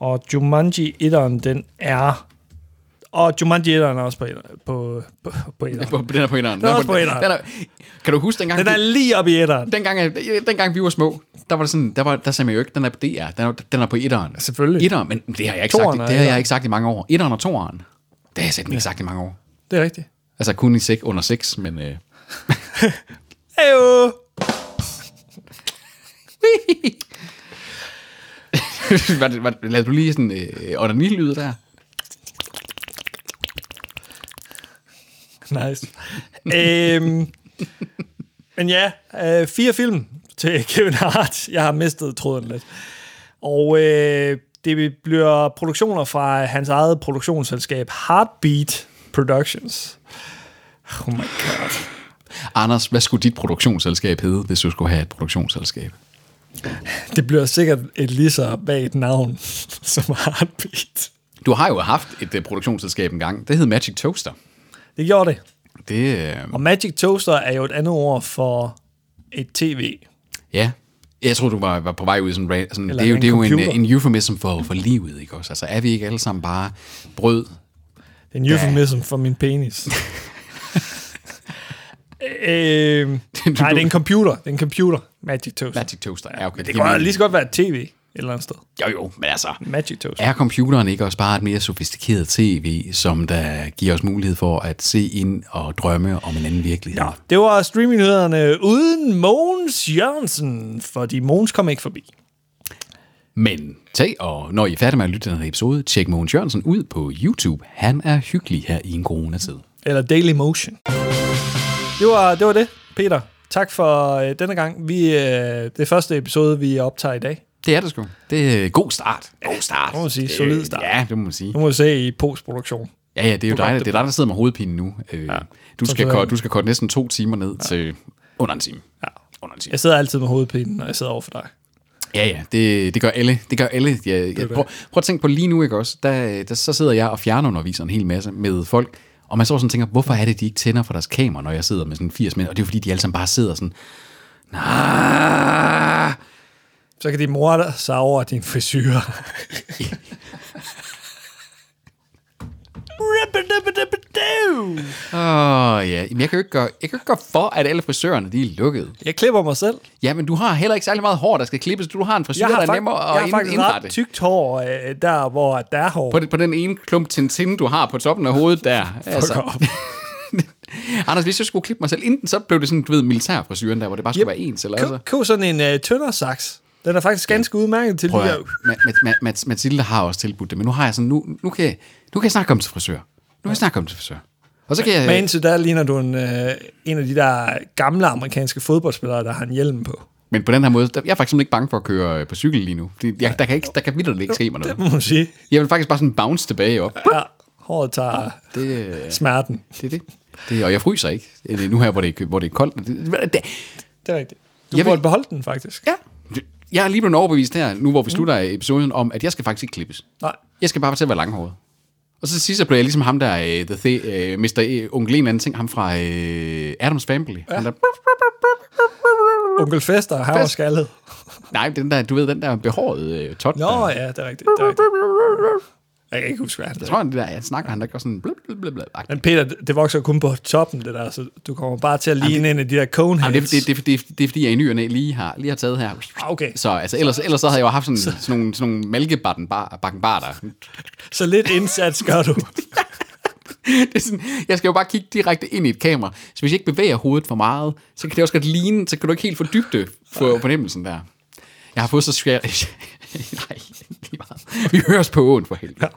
Speaker 1: og Jumanji 1'eren, den er... Og Jumanji 1'eren er også på, etter- på, på, på 1'eren.
Speaker 2: På, den er på etteren.
Speaker 1: Den er også på etteren.
Speaker 2: Den er, kan du huske dengang?
Speaker 1: Den er
Speaker 2: vi-
Speaker 1: lige oppe i 1'eren.
Speaker 2: dengang, øh, dengang vi var små, der var det sådan, der, var, der sagde man jo ikke, den er på DR, den er, den er på etteren.
Speaker 1: Selvfølgelig.
Speaker 2: Etteren, men det har jeg ikke,
Speaker 1: Toeren
Speaker 2: sagt,
Speaker 1: er
Speaker 2: det har jeg
Speaker 1: etteren.
Speaker 2: ikke sagt i mange år. Etteren og toeren, det har jeg simpelthen ikke sagt i mange år.
Speaker 1: Det er rigtigt.
Speaker 2: Altså kun i sek, under seks, men øh,
Speaker 1: Heyo!
Speaker 2: var det, var, det- lavede du lige sådan øh, onanilyd der?
Speaker 1: Nice. øhm, men ja, øh, fire film til Kevin Hart. Jeg har mistet tråden lidt. Og øh, det bliver produktioner fra hans eget produktionsselskab Heartbeat Productions. Oh my god.
Speaker 2: Anders, hvad skulle dit produktionsselskab hedde, hvis du skulle have et produktionsselskab?
Speaker 1: Det bliver sikkert et lige så bag et navn som Heartbeat.
Speaker 2: Du har jo haft et øh, produktionsselskab engang, det hed Magic Toaster.
Speaker 1: Det gjorde det.
Speaker 2: Det, øh,
Speaker 1: Og Magic Toaster er jo et andet ord for et tv.
Speaker 2: ja, jeg tror, du var, var på vej ud i sådan, en ra- sådan
Speaker 1: Eller
Speaker 2: det er jo,
Speaker 1: en
Speaker 2: det er jo en,
Speaker 1: computer.
Speaker 2: øh, en euphemism for, for livet, ikke også? Altså er vi ikke alle sammen bare brød,
Speaker 1: Det er en euphemism for min penis. øh, nej, det er en computer. Det er en computer. Magic Toaster.
Speaker 2: Magic Toaster. Ja, okay.
Speaker 1: det
Speaker 2: giver
Speaker 1: kan
Speaker 2: mening.
Speaker 1: lige så godt være et tv et eller andet sted.
Speaker 2: Jo, jo, men altså...
Speaker 1: Magic Toaster.
Speaker 2: Er computeren ikke også bare et mere sofistikeret tv, som der giver os mulighed for at se ind og drømme om en anden virkelighed? Ja.
Speaker 1: Det var streamingnyhederne uden Mogens Jørgensen, fordi Mogens kom ikke forbi.
Speaker 2: Men tag, og når I er færdige med at lytte til den her episode, tjek Mogens Jørgensen ud på YouTube. Han er hyggelig her i en coronatid.
Speaker 1: Eller Daily Motion. Det var det, var det Peter. Tak for øh, denne gang. Vi, øh, det er første episode, vi optager i dag.
Speaker 2: Det er det sgu. Det er øh, god start. God start.
Speaker 1: det må man sige.
Speaker 2: Det-
Speaker 1: Solid start.
Speaker 2: Ja, det må man sige.
Speaker 1: Nu må vi se i postproduktion.
Speaker 2: Ja, ja, det er jo dig, det er dig, der sidder med hovedpinen nu. Øh, Du, skal
Speaker 1: sidder jeg.
Speaker 2: cut, du skal korte næsten to timer ned til under en time. Ja. Under en time.
Speaker 1: Jeg sidder altid med hovedpinen, når jeg sidder over for dig.
Speaker 2: Ja, ja, det, det gør alle. Det gør alle. Ja, ja. Prøv, prøv at tænke på lige nu, ikke også? Der, der, så sidder jeg og fjernunderviser en hel masse med folk, og man så sådan og tænker, hvorfor er det, de ikke tænder for deres kamera, når jeg sidder med sådan 80 mænd? Og det er jo fordi, de alle sammen bare sidder sådan, nah.
Speaker 1: Så kan de mor sig over din frisyr.
Speaker 2: Åh, ja. Jamen, jeg kan jo ikke gøre, jeg kan jo ikke gøre for, at alle frisørerne, de er lukket.
Speaker 1: Jeg klipper mig selv.
Speaker 2: Ja, men du har heller ikke særlig meget hår, der skal klippes. Du har en frisyr,
Speaker 1: Jeg
Speaker 2: der
Speaker 1: har,
Speaker 2: er
Speaker 1: fak-
Speaker 2: nemmere
Speaker 1: jeg
Speaker 2: at
Speaker 1: har
Speaker 2: ind-
Speaker 1: faktisk
Speaker 2: indrette.
Speaker 1: ret tykt hår, øh, der hvor der er hår.
Speaker 2: på, den, på den ene klump Tintin, du har på toppen af hovedet der. altså. Anders, hvis jeg skulle klippe mig selv, enten så blev det sådan, du ved, militærfrisyren der, hvor det bare skulle yep. være ens, eller altså.
Speaker 1: Køb, køb sådan en øh, tøndersaks. Den er faktisk ganske udmærket til de
Speaker 2: Prøv at,
Speaker 1: der...
Speaker 2: høre. Ma- Ma- Ma- Mats- Mathilde har også tilbudt det, men nu har jeg sådan, nu, nu, kan, jeg, nu kan jeg snart komme til frisør. Nu kan jeg snart komme til frisør. Og så kan jeg...
Speaker 1: Men indtil der ligner du en, øh, en af de der gamle amerikanske fodboldspillere, der har en hjelm på.
Speaker 2: men på den her måde, der, jeg er faktisk simpelthen ikke bange for at køre øh, på cykel lige nu. Det- Jeg, der kan, ikke, der kan vitterligt ikke ske mig
Speaker 1: Det
Speaker 2: noget.
Speaker 1: må man sige.
Speaker 2: Jeg vil faktisk bare sådan bounce tilbage op.
Speaker 1: Ja, håret tager
Speaker 2: Det, øh,
Speaker 1: smerten.
Speaker 2: det er det. det. Og jeg fryser ikke. Øh, Nu her, hvor det, er- hvor det er koldt. Det, det,
Speaker 1: Det er rigtigt. Du
Speaker 2: Jeg
Speaker 1: jeg
Speaker 2: vil-
Speaker 1: burde beholde den, faktisk.
Speaker 2: Ja. Jeg er lige blevet overbevist her, nu
Speaker 1: Mm.
Speaker 2: hvor vi slutter episoden, om, at jeg skal faktisk ikke klippes.
Speaker 1: Nej.
Speaker 2: Jeg skal bare til at være langhåret. Og så til sidst så blev jeg ligesom ham der, øh, the the, øh, Mr. Øh, onkel en eller anden ting, ham fra øh, Adams Family. Ja. Han der,
Speaker 1: Onkel Fester har også skaldet.
Speaker 2: nej, den der, du ved, den der behårede øh, tot.
Speaker 1: Nå
Speaker 2: der.
Speaker 1: ja, det er rigtigt. Det er rigtigt. Jeg kan ikke huske, hvad han
Speaker 2: Jeg tror, han det der, jeg snakker, han der gør sådan blub, blub, blub, blub.
Speaker 1: Men Peter, det det vokser kun på toppen, det der, så du kommer bare til at ligne Jamen, en af de der coneheads.
Speaker 2: Jamen, det, det, det, det, det, er fordi, jeg i ny og næ lige har, lige har taget her.
Speaker 1: Ah, okay.
Speaker 2: Så altså, ellers, ellers så havde jeg jo haft sådan, sådan nogle, sådan nogle mælkebakken bar, bakken bar der.
Speaker 1: Så lidt indsats gør du.
Speaker 2: det er sådan, jeg skal jo bare kigge direkte ind i et kamera. Så hvis jeg ikke bevæger hovedet for meget, så kan det også godt ligne, så kan du ikke helt få dybde på fornemmelsen der. Jeg har fået så svært... Nej, lige meget. Vi høres på åen for helvede.